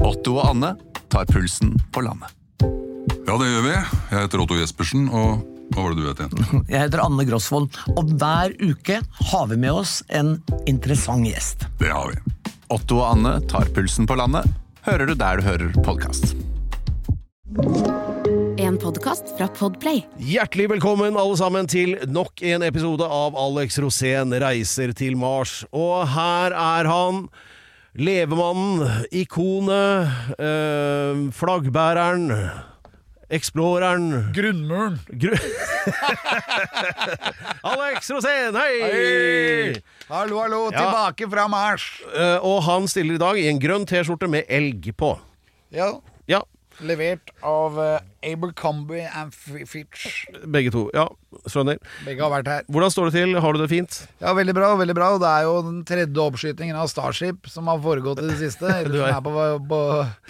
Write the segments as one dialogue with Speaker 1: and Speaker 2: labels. Speaker 1: Otto og Anne tar pulsen på landet.
Speaker 2: Ja, det gjør vi. Jeg heter Otto Jespersen, og hva var det du het igjen?
Speaker 3: Jeg heter Anne Grosvold, og hver uke har vi med oss en interessant gjest.
Speaker 2: Det har vi.
Speaker 1: Otto og Anne tar pulsen på landet, hører du der du hører podkast.
Speaker 4: En podkast fra Podplay.
Speaker 5: Hjertelig velkommen alle sammen til nok en episode av Alex Rosén reiser til Mars. Og her er han. Levemannen, ikonet, eh, flaggbæreren, eksploreren
Speaker 6: Grunnmuren.
Speaker 5: gru... Alex Rosén, hei!
Speaker 6: Hallo, hallo,
Speaker 5: Ja.
Speaker 6: tilbake fra Mars.
Speaker 5: Eh, og han stiller i dag i en grønn T-skjorte med elg på.
Speaker 6: Ja,
Speaker 5: Ja,
Speaker 6: levert av uh, Abercrombie and F- Fitch.
Speaker 5: begge to. Ja, skjønner.
Speaker 6: Begge har vært her.
Speaker 5: Hvordan står det til? Har du det fint?
Speaker 6: Ja, veldig bra, veldig bra. Og det er jo den tredje oppskytingen av Starship som har foregått i det siste. Eller som er på, på,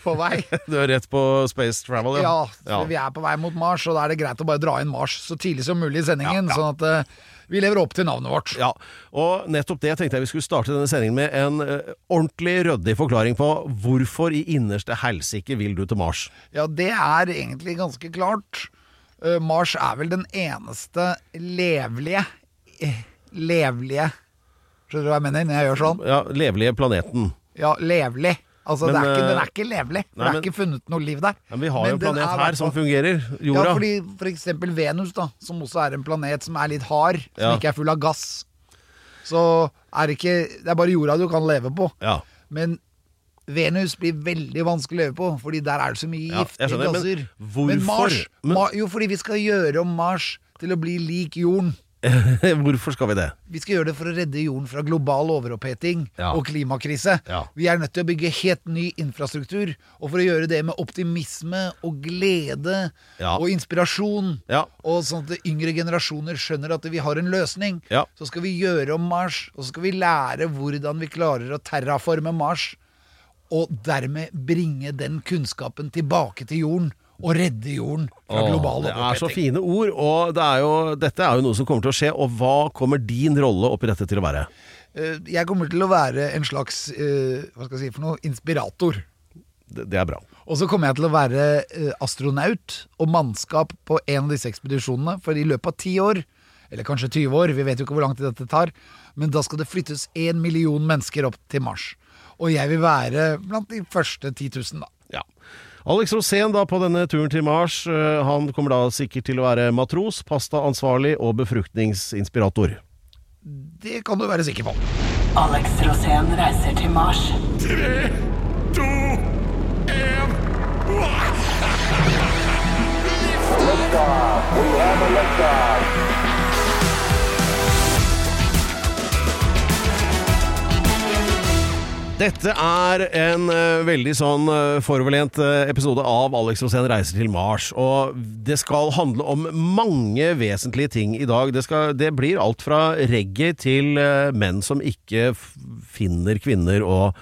Speaker 6: på vei.
Speaker 5: Du er rett på space travel,
Speaker 6: Ja, for vi er på vei mot Mars, og da er det greit å bare dra inn Mars så tidlig som mulig i sendingen, sånn at eh, vi lever opp til navnet vårt.
Speaker 5: Ja, og nettopp det tenkte jeg vi skulle starte denne sendingen med en eh, ordentlig ryddig forklaring på hvorfor i innerste helsike vil du til Mars?
Speaker 6: Ja, det er egentlig ganske klart. Eh, Mars er vel den eneste levlige eh, Levlige Skjønner du hva jeg mener når jeg gjør sånn?
Speaker 5: Ja, levelige planeten.
Speaker 6: Ja, levelig. Altså,
Speaker 5: Men,
Speaker 6: det er ikke,
Speaker 5: eh,
Speaker 6: den er ikke levelig. for
Speaker 5: nei,
Speaker 6: det er
Speaker 5: men-
Speaker 6: ikke funnet noe liv der.
Speaker 5: Men vi har jo en
Speaker 6: den
Speaker 5: planet
Speaker 6: er
Speaker 5: her
Speaker 6: hvertfall-
Speaker 5: som fungerer, jorda.
Speaker 6: Ja, fordi for eksempel Venus, da, som også er en planet som er litt hard, som
Speaker 5: Ja.
Speaker 6: ikke er full av gass. Så er det ikke Det er bare jorda du kan leve på.
Speaker 5: Ja.
Speaker 6: Men Venus blir veldig vanskelig å leve på, fordi der er det så mye
Speaker 5: Ja, jeg
Speaker 6: giftige
Speaker 5: skjønner, men
Speaker 6: gasser.
Speaker 5: hvorfor?
Speaker 6: Mars
Speaker 5: Men-
Speaker 6: Ma Jo, fordi vi skal gjøre om Mars til å bli lik jorden.
Speaker 5: hvorfor skal vi det?
Speaker 6: Vi skal gjøre det for å redde jorden fra global overoppheting
Speaker 5: Ja.
Speaker 6: og klimakrise.
Speaker 5: Ja.
Speaker 6: Vi er nødt til å bygge helt ny infrastruktur, og for å gjøre det med optimisme og glede
Speaker 5: Ja.
Speaker 6: og inspirasjon,
Speaker 5: Ja.
Speaker 6: og sånn at yngre generasjoner skjønner at vi har en løsning,
Speaker 5: Ja.
Speaker 6: så skal vi gjøre om Mars, og så skal vi lære hvordan vi klarer å terraforme Mars, og dermed bringe den kunnskapen tilbake til jorden, og redde jorden fra
Speaker 5: Åh,
Speaker 6: global
Speaker 5: det er så
Speaker 6: overoppheting.
Speaker 5: fine ord, og det er jo, dette er jo noe som kommer til å skje. Og hva kommer din rolle oppi dette til å være?
Speaker 6: Eh, Jeg kommer til å være en slags, eh, hva skal jeg si for noe, inspirator.
Speaker 5: Det, det er bra.
Speaker 6: Og så kommer jeg til å være eh, astronaut og mannskap på en av disse ekspedisjonene, for i løpet av ti år, eller kanskje 20 år, vi vet jo ikke hvor lang tid dette tar, men da skal det flyttes én million mennesker opp til Mars. Og jeg vil være blant de første 10 000, da.
Speaker 5: Ja. Alex Rosén da på denne turen til Mars, eh, han kommer da sikkert til å være matros, pastaansvarlig og befruktningsinspirator.
Speaker 6: Det kan du være sikker på.
Speaker 7: Alex Rosén reiser til Mars.
Speaker 5: Dette er en eh, veldig sånn eh, foroverlent eh, episode av Alex Rosén reiser til Mars. Og det skal handle om mange vesentlige ting i dag. Det, skal, det blir alt fra reggae til eh, menn som ikke f finner kvinner og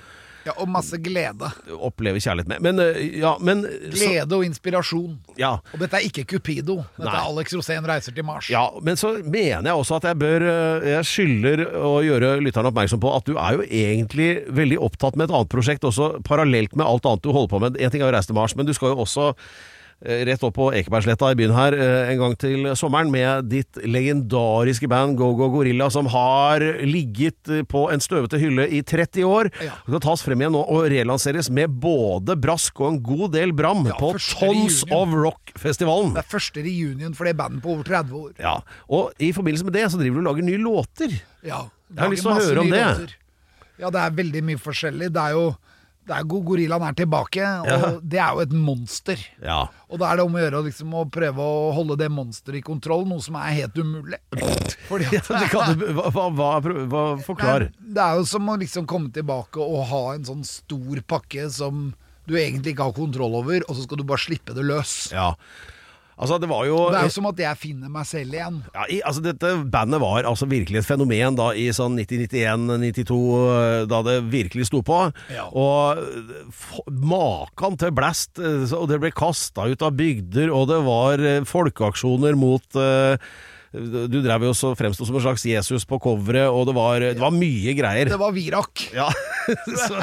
Speaker 6: Ja, Og masse glede.
Speaker 5: opplever kjærlighet med. Men eh, ja, men så,
Speaker 6: Glede og inspirasjon.
Speaker 5: ja.
Speaker 6: Og dette er ikke Cupido. Dette
Speaker 5: Nei.
Speaker 6: er Alex Rosén reiser til Mars.
Speaker 5: Ja, men så mener jeg også at jeg bør eh, Jeg skylder å gjøre lytterne oppmerksom på at du er jo egentlig veldig opptatt med et annet prosjekt også, parallelt med alt annet du holder på med. En ting er å reise til Mars, men du skal jo også eh, rett opp på Ekebergsletta i byen her eh, en gang til sommeren med ditt legendariske band Go Go Gorilla, som har ligget eh, på en støvete hylle i 30 år.
Speaker 6: Ja.
Speaker 5: Det skal tas frem igjen nå og relanseres med både brask og en god del bram
Speaker 6: Ja,
Speaker 5: på
Speaker 6: første
Speaker 5: Tons
Speaker 6: reunion.
Speaker 5: of Rock-festivalen.
Speaker 6: Det er første reunion for det bandet på over 30 år.
Speaker 5: Ja, og i forbindelse med det så driver du og lager nye låter.
Speaker 6: Ja,
Speaker 5: Jeg har
Speaker 6: lager
Speaker 5: lyst til å
Speaker 6: masse
Speaker 5: høre om
Speaker 6: nye
Speaker 5: det.
Speaker 6: låter. Ja, det er veldig mye forskjellig. Det er jo det er god Gorillaen er tilbake, og det er jo et monster.
Speaker 5: Ja.
Speaker 6: Og da er det om å gjøre liksom, å prøve å holde det monsteret i kontroll, noe som er helt umulig. Fordi at
Speaker 5: det kan du, hva, hva, hva, hva Forklar.
Speaker 6: Nei, det er jo som å liksom komme tilbake og ha en sånn stor pakke som du egentlig ikke har kontroll over, og så skal du bare slippe det løs.
Speaker 5: Ja. Altså, det var jo,
Speaker 6: Det er jo som at jeg finner meg selv igjen.
Speaker 5: ja, i, altså, Dette bandet var altså virkelig et fenomen da i sånn 90-91-92, eh, da det virkelig sto på.
Speaker 6: Ja.
Speaker 5: Og f makan til blast, eh, så- og det ble kasta ut av bygder, og det var eh, folkeaksjoner mot eh, Du drev jo så fremsto som en slags Jesus på coveret, og det var, det var mye greier.
Speaker 6: Det var Virak.
Speaker 5: Ja. så,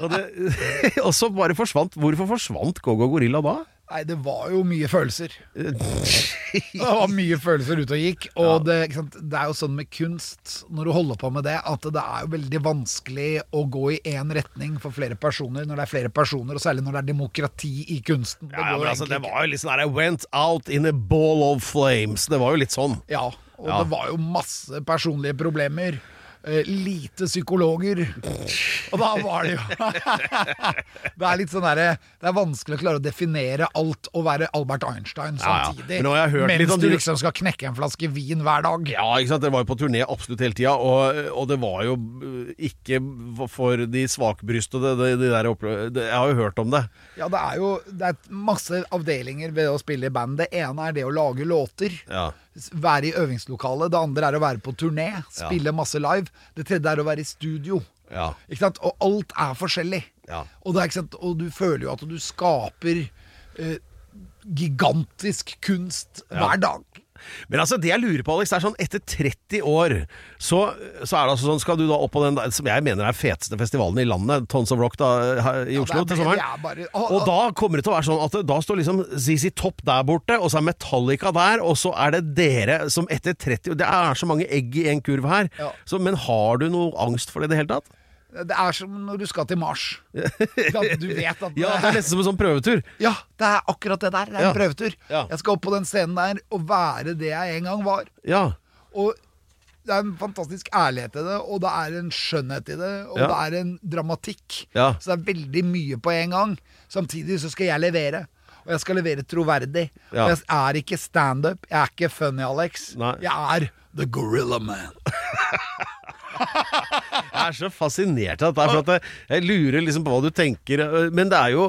Speaker 5: og, det, og så bare forsvant Hvorfor forsvant Gogo Gorilla da?
Speaker 6: Nei, det var jo mye følelser. Det var mye følelser ute og gikk. Og det, ikke sant? det er jo sånn med kunst, når du holder på med det, at det er jo veldig vanskelig å gå i én retning for flere personer når det er flere personer, og særlig når det er demokrati i kunsten.
Speaker 5: Ja, ja,
Speaker 6: går
Speaker 5: men
Speaker 6: jo
Speaker 5: altså,
Speaker 6: egentlig
Speaker 5: det var jo litt sånn der I went out in a ball of flames. Det var jo litt sånn.
Speaker 6: Ja, og
Speaker 5: Ja.
Speaker 6: det var jo masse personlige problemer. eh, Lite psykologer. Og da var det jo Det er litt sånn derre Det er vanskelig å klare å definere alt og være Albert Einstein
Speaker 5: Ja, ja.
Speaker 6: samtidig.
Speaker 5: Men nå har jeg hørt
Speaker 6: mens
Speaker 5: litt om
Speaker 6: du
Speaker 5: de-
Speaker 6: liksom skal knekke en flaske vin hver dag.
Speaker 5: Ja, ikke sant? Dere var jo på turné absolutt hele tida, og, og det var jo eh, ikke for de svakbrystede, de, de der opple- det- Jeg har jo hørt om det.
Speaker 6: Ja, det er jo det er masse avdelinger ved å spille i band. Det ene er det å lage låter.
Speaker 5: Ja.
Speaker 6: S- Være i øvingslokalet. Det andre er å være på turné. Spille masse live. Det tredje er å være i studio.
Speaker 5: Ja.
Speaker 6: Ikke sant? Og alt er forskjellig.
Speaker 5: Ja.
Speaker 6: Og, det er, ikke sant? og du føler jo at du skaper eh, gigantisk kunst hver dag.
Speaker 5: Men altså, det jeg lurer på, Alex, det er sånn etter 30 år, så, så er det altså sånn Skal du da opp på den der, som jeg mener er feteste festivalen i landet, Tons of Rock da, her i Oslo
Speaker 6: det er-
Speaker 5: til sommeren?
Speaker 6: det er bare- Å,
Speaker 5: og
Speaker 6: å.
Speaker 5: da kommer det til å være sånn at det- da står liksom ZZ Topp der borte, og så er Metallica der, og så er det dere som etter 30 Det er så mange egg i en kurv her.
Speaker 6: Ja.
Speaker 5: Så, men har du noe angst for det i det hele tatt?
Speaker 6: Det er som når du skal til Mars. Ikke sant? Du vet at
Speaker 5: Ja, det er nesten som en sånn prøvetur.
Speaker 6: Ja, det er akkurat det der. Det er en
Speaker 5: Ja.
Speaker 6: prøvetur.
Speaker 5: Ja.
Speaker 6: Jeg skal opp på den scenen der og være det jeg en gang var.
Speaker 5: Ja.
Speaker 6: Og det er en fantastisk ærlighet i det, og det er en skjønnhet i det, og
Speaker 5: Ja.
Speaker 6: det er en dramatikk.
Speaker 5: Ja.
Speaker 6: Så det er veldig mye på en gang. Samtidig så skal jeg levere. Og jeg skal levere troverdig.
Speaker 5: Ja.
Speaker 6: Og Jeg er ikke standup, jeg er ikke funny Alex.
Speaker 5: Nei.
Speaker 6: Jeg er The Gorilla Man.
Speaker 5: Jeg er så fascinert av dette, her, for at jeg, jeg lurer liksom på hva du tenker. øh, Men det er jo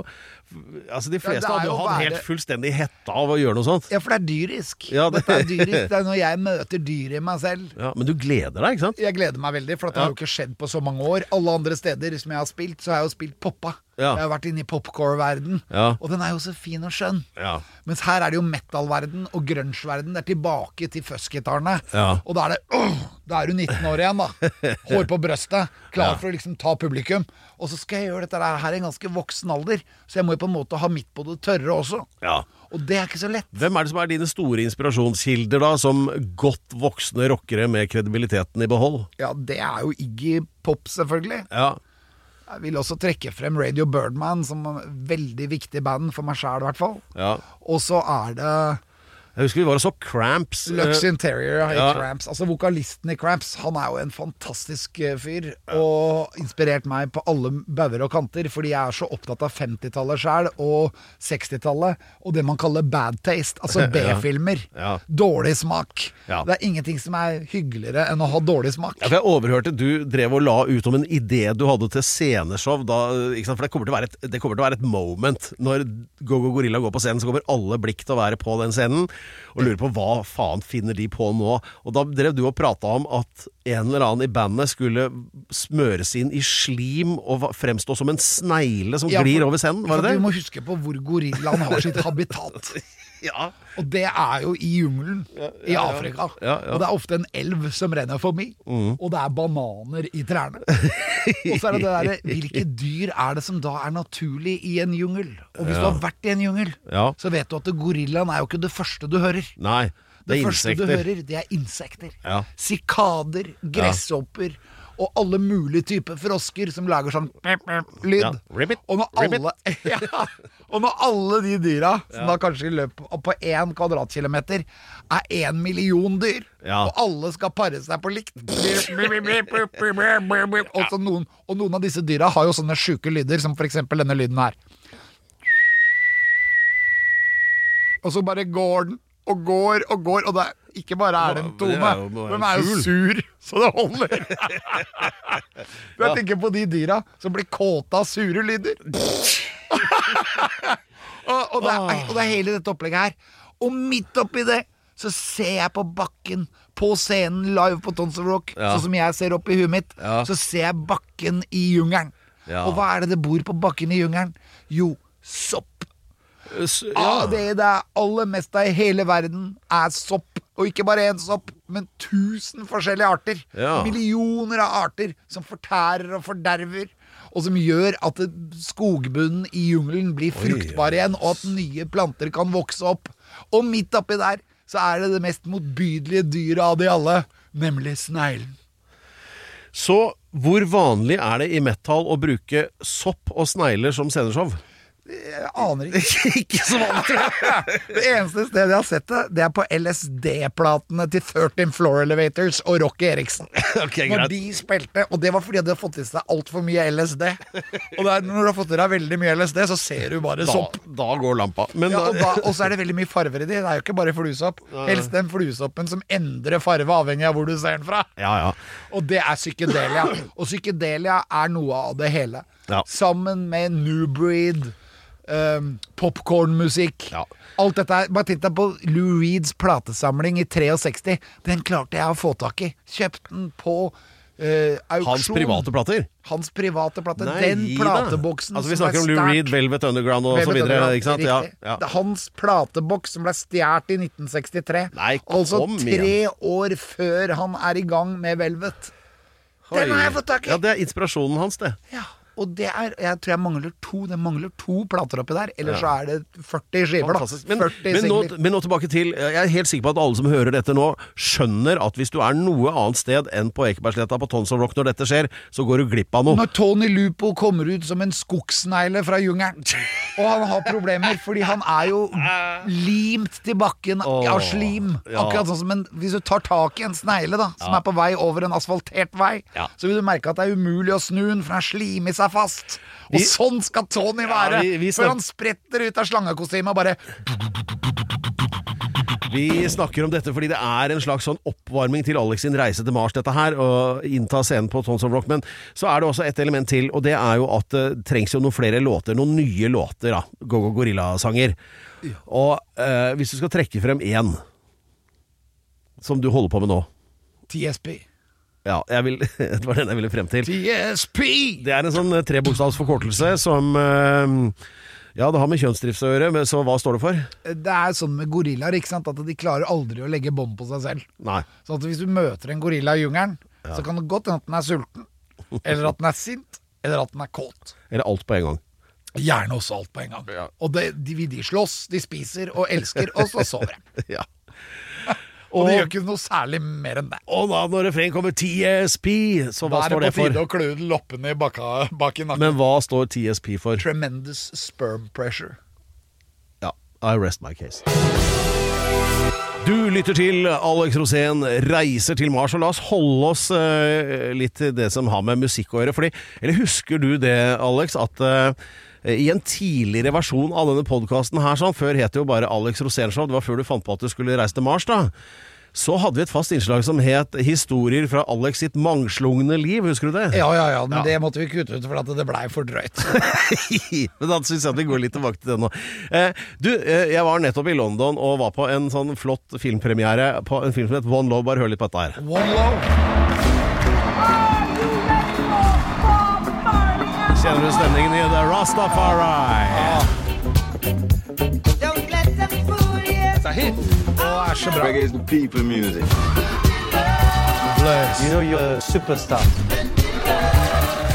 Speaker 5: Altså, de fleste
Speaker 6: det er
Speaker 5: hadde jo
Speaker 6: jo
Speaker 5: hatt
Speaker 6: bare-
Speaker 5: helt fullstendig hetta av å gjøre noe sånt.
Speaker 6: Ja, for det er dyrisk.
Speaker 5: Ja, det-
Speaker 6: det... Dette er dyrisk. Det er når jeg møter dyret i meg selv.
Speaker 5: Ja, men du gleder deg, ikke sant?
Speaker 6: Jeg gleder meg veldig, for at det har jo ikke skjedd på så mange år. Alle andre steder som jeg har spilt, så har jeg jo spilt poppa.
Speaker 5: Ja.
Speaker 6: Jeg har vært inne i popcore-verden,
Speaker 5: Ja.
Speaker 6: og den er jo så fin og skjønn.
Speaker 5: Ja.
Speaker 6: Mens her er det jo metal-verden og grunge-verden. Det er tilbake til fuzzgitarene.
Speaker 5: Ja.
Speaker 6: Og da er det åh, Da er du 19 år igjen, da. Hår på brøstet. Klar for å liksom ta publikum. Og så skal jeg gjøre dette her i en ganske voksen alder, så jeg må jo på en måte ha mitt på det tørre også.
Speaker 5: Ja.
Speaker 6: Og det er ikke så lett.
Speaker 5: Hvem er det som er dine store inspirasjonskilder, da, som godt voksne rockere med kredibiliteten i behold?
Speaker 6: Ja, det er jo Iggy Pop, selvfølgelig.
Speaker 5: Ja.
Speaker 6: Jeg vil også trekke frem Radio Birdman som en veldig viktig band for meg sjæl, i hvert fall.
Speaker 5: Ja.
Speaker 6: Og så er det
Speaker 5: Jeg husker vi var og så Cramps. øh,
Speaker 6: Lux Interior i
Speaker 5: ja.
Speaker 6: Cramps. Altså Vokalisten i Cramps han er jo en fantastisk eh, fyr, og inspirert meg på alle bauger og kanter, fordi jeg er så opptatt av 50-tallet sjæl, og 60-tallet, og det man kaller bad taste, altså B-filmer.
Speaker 5: Ja.
Speaker 6: Dårlig smak.
Speaker 5: Ja.
Speaker 6: Det er ingenting som er hyggeligere enn å ha dårlig smak.
Speaker 5: Ja, for jeg overhørte du drev og la ut om en idé du hadde til sceneshow. Da, ikke sant? For det kommer, til å være et, det kommer til å være et moment. Når Go-Go Gorilla går på scenen, så kommer alle blikk til å være på den scenen. Og lurer på hva faen finner de på nå? Og da drev du og prata om at en eller annen i bandet skulle smøres inn i slim og va- fremstå som en snegle som
Speaker 6: Ja, for-
Speaker 5: glir over scenen. Var
Speaker 6: for
Speaker 5: det
Speaker 6: Du
Speaker 5: det?
Speaker 6: må huske på hvor gorillaen har sitt habitat.
Speaker 5: Ja.
Speaker 6: Og det er jo i jungelen i Afrika.
Speaker 5: Ja, ja. Mm.
Speaker 6: Og det er ofte en elv som renner forbi, og det er bananer i trærne. og så er det det derre Hvilke dyr er det som da er naturlig i en jungel? Og hvis du har vært i en jungel,
Speaker 5: Ja.
Speaker 6: så vet du at gorillaen er jo ikke det første du hører.
Speaker 5: Nei, det
Speaker 6: Det
Speaker 5: er
Speaker 6: første du
Speaker 5: insekter.
Speaker 6: hører, det er insekter.
Speaker 5: Ja.
Speaker 6: Sikader, gresshopper og alle mulige typer frosker som lager sånn pip, pip, lyd.
Speaker 5: Ja. Ribbit,
Speaker 6: og, når alle, ja, og når alle de dyra, som da kanskje i løpet av- på én kvadratkilometer er én million dyr,
Speaker 5: Ja.
Speaker 6: og alle skal pare seg på likt og, så noen, og noen av disse dyra har jo sånne sjuke lyder, som f.eks. denne lyden her. Og så bare går den, og går og går, og det er, ikke bare er det en
Speaker 5: Nå, det
Speaker 6: tone,
Speaker 5: er jo- nå er
Speaker 6: den
Speaker 5: den
Speaker 6: er jo
Speaker 5: ful.
Speaker 6: sur, så det holder. Jeg tenker på de dyra som blir kåte av sure lyder. og, og, det er, og det er hele dette opplegget her. Og midt oppi det så ser jeg på bakken, på scenen live på Tons of Rock,
Speaker 5: Ja.
Speaker 6: sånn som jeg ser opp i huet mitt,
Speaker 5: Ja.
Speaker 6: så ser jeg bakken i jungelen.
Speaker 5: Ja.
Speaker 6: Og hva er det det bor på bakken i jungelen? Jo, sopp.
Speaker 5: S-
Speaker 6: Ja. det det er aller mest av i hele verden er sopp. Og ikke bare én sopp, men tusen forskjellige arter.
Speaker 5: Ja.
Speaker 6: Millioner av arter som fortærer og forderver. Og som gjør at det- skogbunnen i jungelen blir fruktbar igjen, og at nye planter kan vokse opp. Og midt oppi der så er det det mest motbydelige dyret av de alle, nemlig sneglen.
Speaker 5: Så hvor vanlig er det i metal å bruke sopp og snegler som sceneshow?
Speaker 6: Jeg aner ikke.
Speaker 5: Ikke så vanlig, tror jeg.
Speaker 6: Det eneste stedet jeg har sett det, det er på LSD-platene til 13 Floor Elevators og Rocky Eriksen.
Speaker 5: Ok,
Speaker 6: når
Speaker 5: greit.
Speaker 6: de spilte, og det var fordi de hadde fått i seg altfor mye LSD. Og det er- når du har fått i deg veldig mye LSD, så ser du bare
Speaker 5: Da,
Speaker 6: sopp.
Speaker 5: da går lampa. Men
Speaker 6: Ja,
Speaker 5: da,
Speaker 6: og, da, og så er det veldig mye farver i de. Det er jo ikke bare fluesopp. Helst den fluesoppen som endrer farve avhengig av hvor du ser den fra.
Speaker 5: ja, ja.
Speaker 6: Og det er psykedelia. Og psykedelia er noe av det hele.
Speaker 5: Ja.
Speaker 6: Sammen med New Breed, um, popkornmusikk
Speaker 5: Ja.
Speaker 6: Alt dette her. Bare tenk deg på Lou Reeds platesamling i 63. Den klarte jeg å få tak i. Kjøpte den på eh, auksjon.
Speaker 5: Hans private plater.
Speaker 6: Hans private plate.
Speaker 5: Nei,
Speaker 6: den
Speaker 5: gi deg.
Speaker 6: plateboksen
Speaker 5: Altså Vi
Speaker 6: som er
Speaker 5: snakker om Lou
Speaker 6: stjert-
Speaker 5: Reed, Velvet Underground og så
Speaker 6: Velvet
Speaker 5: videre.
Speaker 6: Underground,
Speaker 5: Ikke sant? Ja,
Speaker 6: riktig. Det
Speaker 5: ja.
Speaker 6: er Hans plateboks som ble stjålet i 1963.
Speaker 5: Nei,
Speaker 6: altså
Speaker 5: kom igjen.
Speaker 6: tre år før han er i gang med Velvet. Den har jeg fått tak i!
Speaker 5: Ja, Det er inspirasjonen hans, det.
Speaker 6: Ja, og det er Jeg tror jeg mangler to Det mangler to plater oppi der, eller så er det 40 skiver, da.
Speaker 5: Fantastisk. Men,
Speaker 6: 40
Speaker 5: men, nå,
Speaker 6: singler.
Speaker 5: men nå tilbake til Jeg er helt sikker på at alle som hører dette nå, skjønner at hvis du er noe annet sted enn på Ekebergsletta på Tons of Rock når dette skjer, så går du glipp av noe.
Speaker 6: Når Tony Lupo kommer ut som en skogsnegle fra jungelen, og han har problemer fordi han er jo limt til bakken av slim.
Speaker 5: ja.
Speaker 6: Akkurat sånn som en, Hvis du tar tak i en snegle da som er på vei over en asfaltert vei,
Speaker 5: Ja.
Speaker 6: så vil du merke at det er umulig å snu den, for den har slimet seg fast. Og
Speaker 5: Vi-
Speaker 6: sånn skal Tony være!
Speaker 5: vi- vi
Speaker 6: før
Speaker 5: snak-
Speaker 6: han spretter ut av slangekostymet og bare
Speaker 5: Vi snakker om dette fordi det er en slags sånn oppvarming til Alex sin reise til Mars, dette her, og innta scenen på Tons of Rock. Men så er det også et element til, og det er jo at det trengs jo noen flere låter, noen nye låter, da. Go-Go Gorilla-sanger. Og eh, hvis du skal trekke frem én, som du holder på med nå
Speaker 6: TSP.
Speaker 5: Ja, jeg vil, det var den jeg ville frem til.
Speaker 6: TSP!
Speaker 5: Det er en sånn eh, trebokstavsforkortelse som eh, Ja, det har med kjønnsdrift å gjøre, men så hva står det for?
Speaker 6: Det er sånn med gorillaer, ikke sant, at de klarer aldri å legge bånd på seg selv.
Speaker 5: Nei.
Speaker 6: Sånn at hvis du møter en gorilla i jungelen, så kan det godt hende at den er sulten, eller at den er sint, eller at den er kåt.
Speaker 5: Eller alt på en gang.
Speaker 6: Gjerne også alt på en gang. Og det, de, de slåss, de spiser og elsker, og så sover de.
Speaker 5: Ja.
Speaker 6: Og,
Speaker 5: Og-
Speaker 6: det gjør ikke noe særlig mer enn det.
Speaker 5: Og da når refrenget kommer TSP, så hva
Speaker 6: Da er
Speaker 5: står
Speaker 6: det
Speaker 5: det
Speaker 6: på tide
Speaker 5: for?
Speaker 6: å klø ut loppene i baka, bak i nakken.
Speaker 5: Men hva står TSP for?
Speaker 6: Tremendous sperm pressure.
Speaker 5: Ja, I rest my case. Du lytter til Alex Rosén reiser til Mars, og la oss holde oss eh, litt til det som har med musikk å gjøre. Fordi, eller husker du det, Alex, at eh, i en tidligere versjon av denne podkasten her, sånn, før het det jo bare Alex Rosén Show, det var før du fant på at du skulle reise til Mars, da. Så hadde vi et fast innslag som het 'Historier fra Alex sitt mangslungne liv', husker du det?
Speaker 6: Ja, ja, ja, men det måtte vi kutte ut, for at det blei for drøyt.
Speaker 5: Men da syns jeg at vi går litt tilbake til det nå. Eh, du, eh, jeg var nettopp i London og var på en sånn flott filmpremiere på en film som het One Love. Bare hør litt på dette her.
Speaker 6: One love.
Speaker 5: Kjenner du stemningen i The Rastafari?
Speaker 8: Don't let them fool you.
Speaker 6: Å, er så bra.
Speaker 9: Reggae is the people music.
Speaker 6: Bless.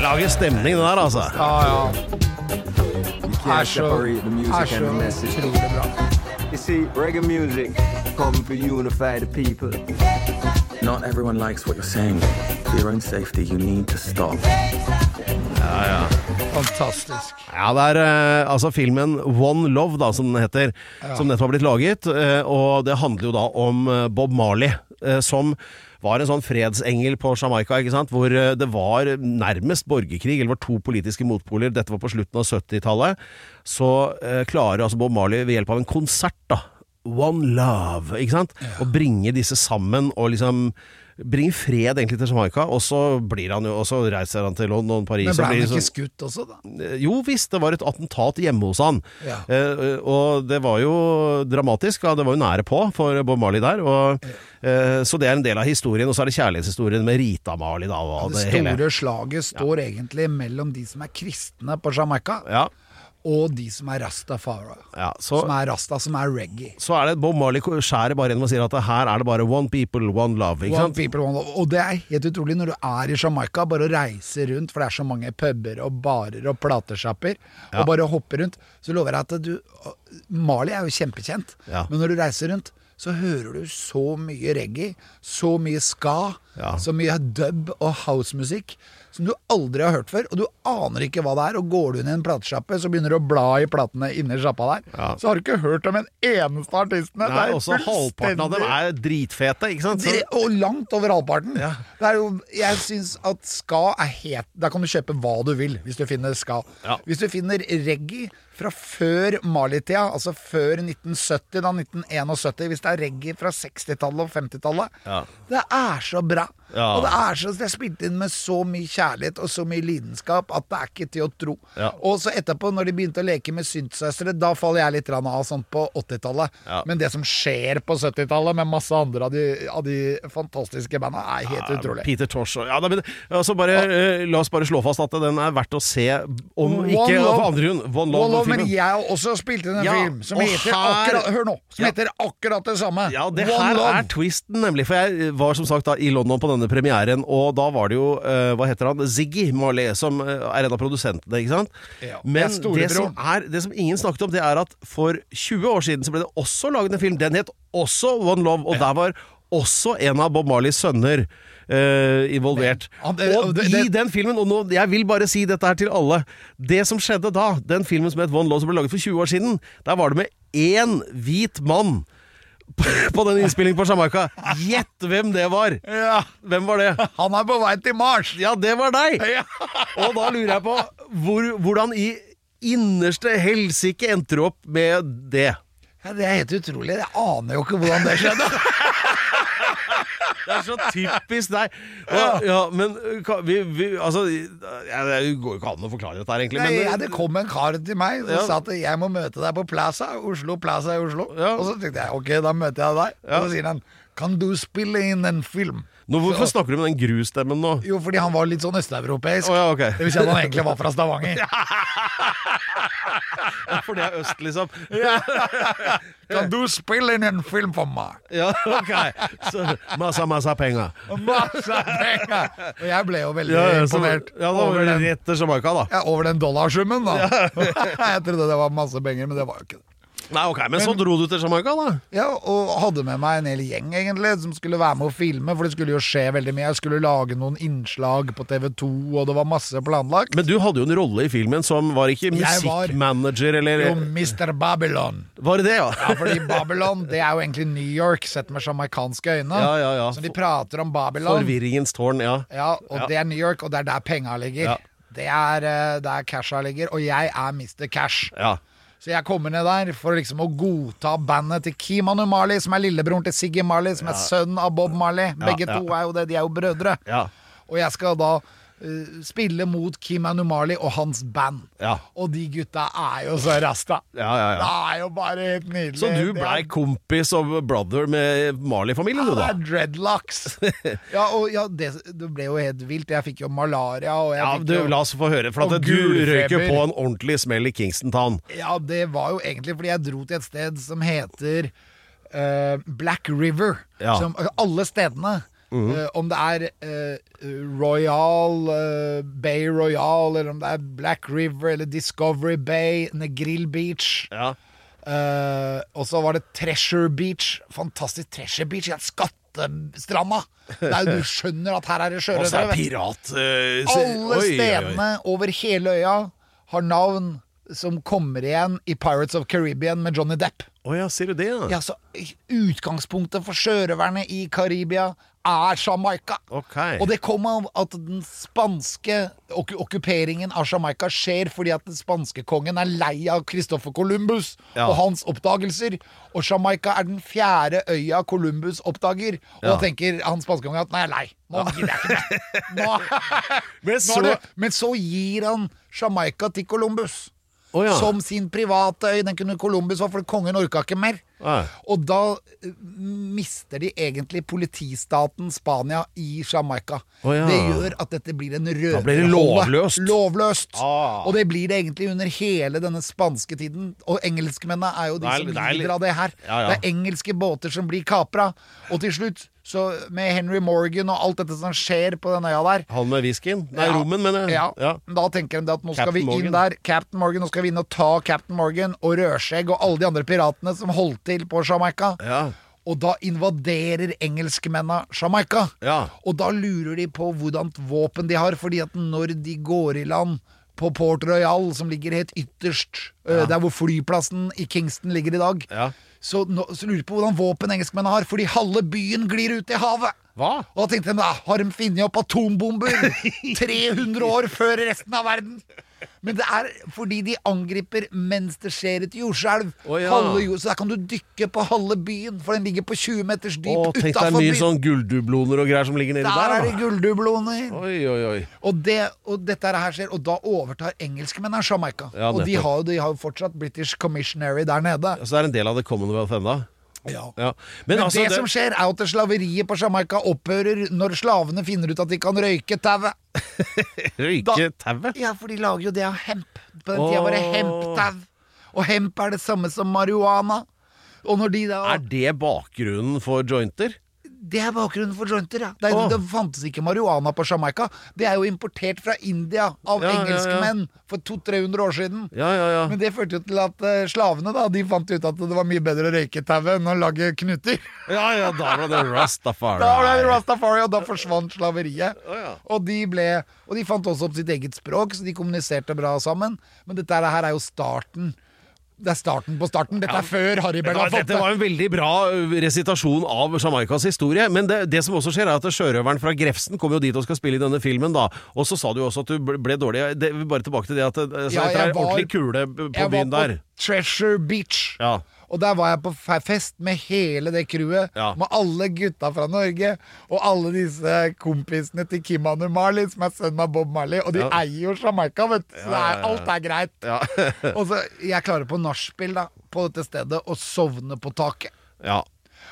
Speaker 5: Lager stemning, den der, altså.
Speaker 6: Ja, ja.
Speaker 9: You
Speaker 6: Er
Speaker 9: can't
Speaker 6: så,
Speaker 9: separate the
Speaker 6: er
Speaker 9: music and
Speaker 6: så
Speaker 9: the message.
Speaker 6: utrolig bra.
Speaker 9: You see, reggae music coming to unify the people.
Speaker 10: Not everyone likes what you're saying. For your own safety, you need to stop.
Speaker 6: Fantastisk.
Speaker 5: Ja, det er eh, altså filmen One Love, da, som den heter. Som nettopp har blitt laget. eh, og det handler jo da om eh, Bob Marley, eh, som var en sånn fredsengel på Jamaica, ikke sant? hvor eh, det var nærmest borgerkrig. Eller var to politiske motpoler. Dette var på slutten av 70-tallet. Så eh, klarer altså Bob Marley ved hjelp av en konsert, da. One love, ikke sant? Å bringe disse sammen og liksom Bringe fred egentlig til Jamaica, og så blir han jo Og så reiser han til London, Paris
Speaker 6: Men
Speaker 5: og
Speaker 6: ble han
Speaker 5: blir
Speaker 6: ikke
Speaker 5: sånn-
Speaker 6: skutt også, da?
Speaker 5: Eh, Jo visst, det var et attentat hjemme hos han.
Speaker 6: Ja.
Speaker 5: Eh, eh, og det var jo dramatisk. Ja, det var jo nære på for Bob Marley der. Og, eh, så det er en del av historien. Og så er det kjærlighetshistorien med Rita Marley, da. Og
Speaker 6: Det
Speaker 5: det
Speaker 6: store
Speaker 5: hele.
Speaker 6: slaget står egentlig mellom de som er kristne på Jamaica,
Speaker 5: Ja.
Speaker 6: og de som er rastafara.
Speaker 5: Ja, så-
Speaker 6: som er rasta, som er reggae.
Speaker 5: Så er det Bob Marley skjærer bare gjennom og sier at her er det bare one people, one love. Ikke
Speaker 6: One
Speaker 5: sant?
Speaker 6: people, one love. Og det er helt utrolig når du er i Jamaica, bare å reise rundt, for det er så mange puber og barer og platesjapper, og bare hoppe rundt, så lover jeg at du Mali er jo kjempekjent,
Speaker 5: Ja.
Speaker 6: men når du reiser rundt, så hører du så mye reggae, så mye ska,
Speaker 5: Ja.
Speaker 6: så mye dub og housemusikk som du aldri har hørt før, og du aner ikke hva det er, og går du inn i en platesjappe, så begynner du å bla i platene inni sjappa der,
Speaker 5: Ja.
Speaker 6: så har du ikke hørt om en eneste av artistene.
Speaker 5: Nei, også halvparten av
Speaker 6: fullstendig-
Speaker 5: dem er dritfete, ikke sant?
Speaker 6: Dere-
Speaker 5: Så,
Speaker 6: Og langt over halvparten. Det er jo, jeg syns at ska er het Der kan du kjøpe hva du vil hvis du finner ska.
Speaker 5: Ja.
Speaker 6: Hvis du finner reggae fra før Mali-tida, altså før 1970, da 1971, hvis det er reggae fra 60-tallet og 50-tallet
Speaker 5: Ja.
Speaker 6: Det er så bra!
Speaker 5: Ja.
Speaker 6: Og det er så Det er spilt inn med så mye kjærlighet og så mye lidenskap at det er ikke til å tro.
Speaker 5: Ja.
Speaker 6: Og så etterpå, når de begynte å leke med syntsøstre, da faller jeg litt grann av sånn på 80-tallet.
Speaker 5: Ja.
Speaker 6: Men det som skjer på 70-tallet med masse andre av de, av de fantastiske banda, er helt utrolig.
Speaker 5: Peter Tosh og ja, nei, men, altså bare, eh, La oss bare slå fast at den er verdt å se, om
Speaker 6: One
Speaker 5: ikke
Speaker 6: Love.
Speaker 5: for andre grunn. One
Speaker 6: One
Speaker 5: Love.
Speaker 6: Love, men
Speaker 5: filmen.
Speaker 6: jeg har også spilt inn en
Speaker 5: Ja,
Speaker 6: film som
Speaker 5: og
Speaker 6: heter
Speaker 5: her-
Speaker 6: akkurat Hør nå! Som
Speaker 5: Ja.
Speaker 6: heter akkurat det samme.
Speaker 5: Ja, det
Speaker 6: One
Speaker 5: her
Speaker 6: Love.
Speaker 5: er twisten, nemlig. For jeg var som sagt da i London på denne premieren, og da var det jo eh, Hva heter han? Ziggy Marley, som eh, er en av produsentene, ikke sant?
Speaker 6: Ja, det er
Speaker 5: Men det
Speaker 6: storebror.
Speaker 5: som, er, det som ingen snakket om, det er at for 20 år siden så ble det også laget en film. Den het også One Love, og der var også en av Bob Marleys sønner eh, involvert.
Speaker 6: Men, han-
Speaker 5: og
Speaker 6: det-
Speaker 5: i
Speaker 6: det-
Speaker 5: den filmen, og nå, jeg vil bare si dette her til alle Det som skjedde da, den filmen som het One Love som ble laget for 20 år siden, der var det med én hvit mann på den innspillingen på Jamaica. Gjett hvem det var!
Speaker 6: ja.
Speaker 5: Hvem var det?
Speaker 6: Han er på vei til Mars!
Speaker 5: Ja, det var deg!
Speaker 6: Ja.
Speaker 5: Og da lurer jeg på hvor, hvordan i innerste helsike endte du opp med det?
Speaker 6: Ja, det er helt utrolig. Jeg aner jo ikke hvordan det skjedde.
Speaker 5: Det er så typisk deg. Og, ja, men kan vi, vi Altså, ja, det går jo ikke an å forklare dette her, egentlig.
Speaker 6: Nei, ja,
Speaker 5: men, eh,
Speaker 6: det kom en kar til meg og
Speaker 5: Ja.
Speaker 6: sa at jeg må møte deg på Plaza, Oslo Plaza i Oslo.
Speaker 5: Ja.
Speaker 6: Og så tenkte jeg ok, da møter jeg deg. Og så sier han kan du spille inn en film?
Speaker 5: nå, hvorfor snakker du med den grustemmen nå?
Speaker 6: Jo, fordi han var litt sånn østeuropeisk.
Speaker 5: Å ja, ok.
Speaker 6: Det vil si at han egentlig var fra Stavanger.
Speaker 5: For det er øst, liksom.
Speaker 6: Kan du spille inn en film for meg?
Speaker 5: Ja, ok. Så, masse, masse penger.
Speaker 6: Masse penger! Og jeg ble jo veldig
Speaker 5: Ja, ja, så, ja,
Speaker 6: imponert
Speaker 5: da var
Speaker 6: over,
Speaker 5: det
Speaker 6: den,
Speaker 5: rett til Jamaica, da.
Speaker 6: ja, over den dollarsummen, da. jeg trodde det var masse penger, men det var jo ikke det.
Speaker 5: Nei, ok, Men så dro du til Jamaica, da?
Speaker 6: Ja, og hadde med meg en hel gjeng egentlig som skulle være med og filme, for det skulle jo skje veldig mye. Jeg skulle lage noen innslag på TV 2, og det var masse planlagt.
Speaker 5: Men du hadde jo en rolle i filmen som var ikke
Speaker 6: Jeg var-
Speaker 5: musikkmanager eller
Speaker 6: Jo, Mr. Babylon.
Speaker 5: Var det det, ja?
Speaker 6: Ja, fordi Babylon det er jo egentlig New York sett med jamaicanske øyne.
Speaker 5: Ja, ja, ja.
Speaker 6: Så de prater om Babylon.
Speaker 5: Forvirringens tårn, ja.
Speaker 6: Ja, og
Speaker 5: Ja.
Speaker 6: det er New York, og det er der penga ligger.
Speaker 5: Ja.
Speaker 6: Det er eh, der casha ligger, og jeg er Mr. Cash.
Speaker 5: Ja.
Speaker 6: Så jeg kommer ned der for liksom å godta bandet til Kimanu Marley, som er lillebroren til Siggy Marley, som er sønn av Bob Marley. Begge
Speaker 5: ja.
Speaker 6: to er jo det, de er jo brødre.
Speaker 5: Ja.
Speaker 6: Og jeg skal da eh, spille mot Kimanu Marley og hans band.
Speaker 5: Ja.
Speaker 6: Og de gutta er jo så rasta.
Speaker 5: Ja, ja, ja.
Speaker 6: Det er jo bare helt nydelig.
Speaker 5: Så du
Speaker 6: Det er-
Speaker 5: blei kompis og brother med Marley-familien, du,
Speaker 6: det
Speaker 5: da?
Speaker 6: er dreadlocks. ja, og ja, det, det ble jo helt vilt. Jeg fikk jo malaria, og jeg
Speaker 5: Ja,
Speaker 6: fikk
Speaker 5: du,
Speaker 6: jo
Speaker 5: La oss få høre, for
Speaker 6: Og
Speaker 5: at du røyk jo
Speaker 6: gulfeber.
Speaker 5: på en ordentlig smell i Kingston Town.
Speaker 6: Ja, det var jo egentlig fordi jeg dro til et sted som heter eh, Black River.
Speaker 5: Ja. Mhm.
Speaker 6: Som, alle stedene. eh, om det er eh, Royal, eh, Bay Royal, eller om det er Black River, eller Discovery Bay, Negril Beach.
Speaker 5: Ja.
Speaker 6: Eh, og så var det Treasure Beach. Fantastisk Treasure Beach. Ja, skattestranda! Det er jo, du skjønner at her er det
Speaker 5: Og så er
Speaker 6: sjørøvere. vet du.
Speaker 5: pirat eh, se- oi,
Speaker 6: Alle
Speaker 5: oi, oi.
Speaker 6: stedene over hele øya har navn som kommer igjen i Pirates of Caribbean med Johnny Depp.
Speaker 5: Å ja, ser du det, ja.
Speaker 6: Ja, så Utgangspunktet for sjørøverne i Karibia er Jamaica.
Speaker 5: Ok.
Speaker 6: Og det kom av at den spanske ok okkuperingen av Jamaica skjer fordi at den spanske kongen er lei av Christopher Columbus
Speaker 5: Ja.
Speaker 6: og hans oppdagelser. Og Jamaica er den fjerde øya Columbus oppdager. Og da
Speaker 5: Ja.
Speaker 6: tenker han spanske kongen at nå er jeg lei. Nå gidder jeg ikke mer. Nå-
Speaker 5: Men
Speaker 6: Nå er
Speaker 5: så-
Speaker 6: det, men så gir han Jamaica til Columbus
Speaker 5: Å ja.
Speaker 6: som sin private øy. Den kunne Columbus få, for kongen orka ikke mer.
Speaker 5: Nei.
Speaker 6: Og da eh, mister de egentlig politistaten Spania i Jamaica.
Speaker 5: Å, ja.
Speaker 6: Det gjør at dette blir en røverhåle.
Speaker 5: blir det lovløst.
Speaker 6: Lovløst.
Speaker 5: Ah.
Speaker 6: Og det blir det egentlig under hele denne spanske tiden. Og engelskmennene er jo de
Speaker 5: Det er-
Speaker 6: som
Speaker 5: det er litt-
Speaker 6: lider av det her.
Speaker 5: Ja, ja.
Speaker 6: Det er engelske båter som blir kapra. Og til slutt, så med Henry Morgan og alt dette som skjer på den øya der
Speaker 5: Han med whiskyen? Nei,
Speaker 6: Ja.
Speaker 5: rommen, mener jeg.
Speaker 6: ja.
Speaker 5: Ja.
Speaker 6: Da tenker de det at nå skal
Speaker 5: Captain
Speaker 6: vi inn
Speaker 5: Morgan.
Speaker 6: der, Captain Morgan, nå skal vi inn og ta Captain Morgan og Rødskjegg og alle de andre piratene som holdt til på Jamaica.
Speaker 5: Ja.
Speaker 6: Og da invaderer engelskmennene Jamaica.
Speaker 5: Ja.
Speaker 6: Og da lurer de på hvordan våpen de har, fordi at når de går i land på Port Royal, som ligger helt ytterst, øh, der hvor flyplassen i Kingston ligger i dag,
Speaker 5: Ja.
Speaker 6: så, nå, så lurer de på hvordan våpen engelskmennene har, fordi halve byen glir ut i havet.
Speaker 5: Hva?
Speaker 6: Og da tenkte de, da har de funnet opp atombomber 300 år før resten av verden. Men det er fordi de angriper mens det skjer et jordskjelv.
Speaker 5: Å, ja.
Speaker 6: Halve jord- Så der kan du dykke på halve byen, for den ligger på 20 meters dyp
Speaker 5: Å, tenk deg
Speaker 6: utafor
Speaker 5: mye
Speaker 6: byen.
Speaker 5: sånn gulldubloner og greier som ligger nedi
Speaker 6: der,
Speaker 5: der.
Speaker 6: er det
Speaker 5: da.
Speaker 6: gulldubloner.
Speaker 5: Oi, oi, oi.
Speaker 6: Og, det, og dette her skjer, og da overtar engelskmennene Jamaica.
Speaker 5: Ja,
Speaker 6: og de
Speaker 5: nettopp.
Speaker 6: har, jo- de har jo fortsatt British Commissionary der nede.
Speaker 5: Så det er en del av det Commonwealth ennå?
Speaker 6: Ja.
Speaker 5: Ja. Men,
Speaker 6: Men
Speaker 5: altså,
Speaker 6: det, som skjer, er jo at slaveriet på Jamaica opphører når slavene finner ut at de kan røyke tauet.
Speaker 5: Røyke tauet?
Speaker 6: Ja, for de lager jo det av hemp. På den
Speaker 5: Åh.
Speaker 6: tida var det hemptau. Og hemp er det samme som marihuana. Og når de da
Speaker 5: Er det bakgrunnen for jointer?
Speaker 6: Det er bakgrunnen for jointer, ja. Det, er,
Speaker 5: Åh.
Speaker 6: det fantes ikke marihuana på Jamaica. Det er jo importert fra India av
Speaker 5: Ja, ja, ja.
Speaker 6: engelskmenn for 200-300 år siden.
Speaker 5: Ja, ja, ja.
Speaker 6: Men det førte jo til at eh, slavene da, de fant ut at det var mye bedre å røyke tauet enn å lage knuter.
Speaker 5: Ja, ja, da var det Rastafari.
Speaker 6: Da ble det Rastafari, og da forsvant slaveriet. Og de ble Og de fant også opp sitt eget språk, så de kommuniserte bra sammen. Men dette her er jo starten. Det er starten på starten. Dette er før Harry Bell
Speaker 5: Ja,
Speaker 6: har fått
Speaker 5: dette
Speaker 6: det.
Speaker 5: var en veldig bra ø, resitasjon av Jamaikas historie. Men det, det som også skjer, er at sjørøveren fra Grefsen kommer jo dit og skal spille i denne filmen, da. Og så sa du jo også at du ble, ble dårlig. Det, bare tilbake til det at det
Speaker 6: Ja,
Speaker 5: ja,
Speaker 6: jeg
Speaker 5: er
Speaker 6: var-
Speaker 5: ordentlig kule b- på
Speaker 6: Jeg var
Speaker 5: byen der.
Speaker 6: Treasure Beach.
Speaker 5: Ja.
Speaker 6: Og der var jeg på fe- fest med hele det crewet.
Speaker 5: Ja.
Speaker 6: Med alle gutta fra Norge. Og alle disse kompisene til Kim Anu Marley, som er sønnen av Bob Marley. Og de eier jo Jamaica, vet du. Så det er, alt er greit. og så Jeg klarer på nachspiel da, på dette stedet å sovne på taket.
Speaker 5: Ja.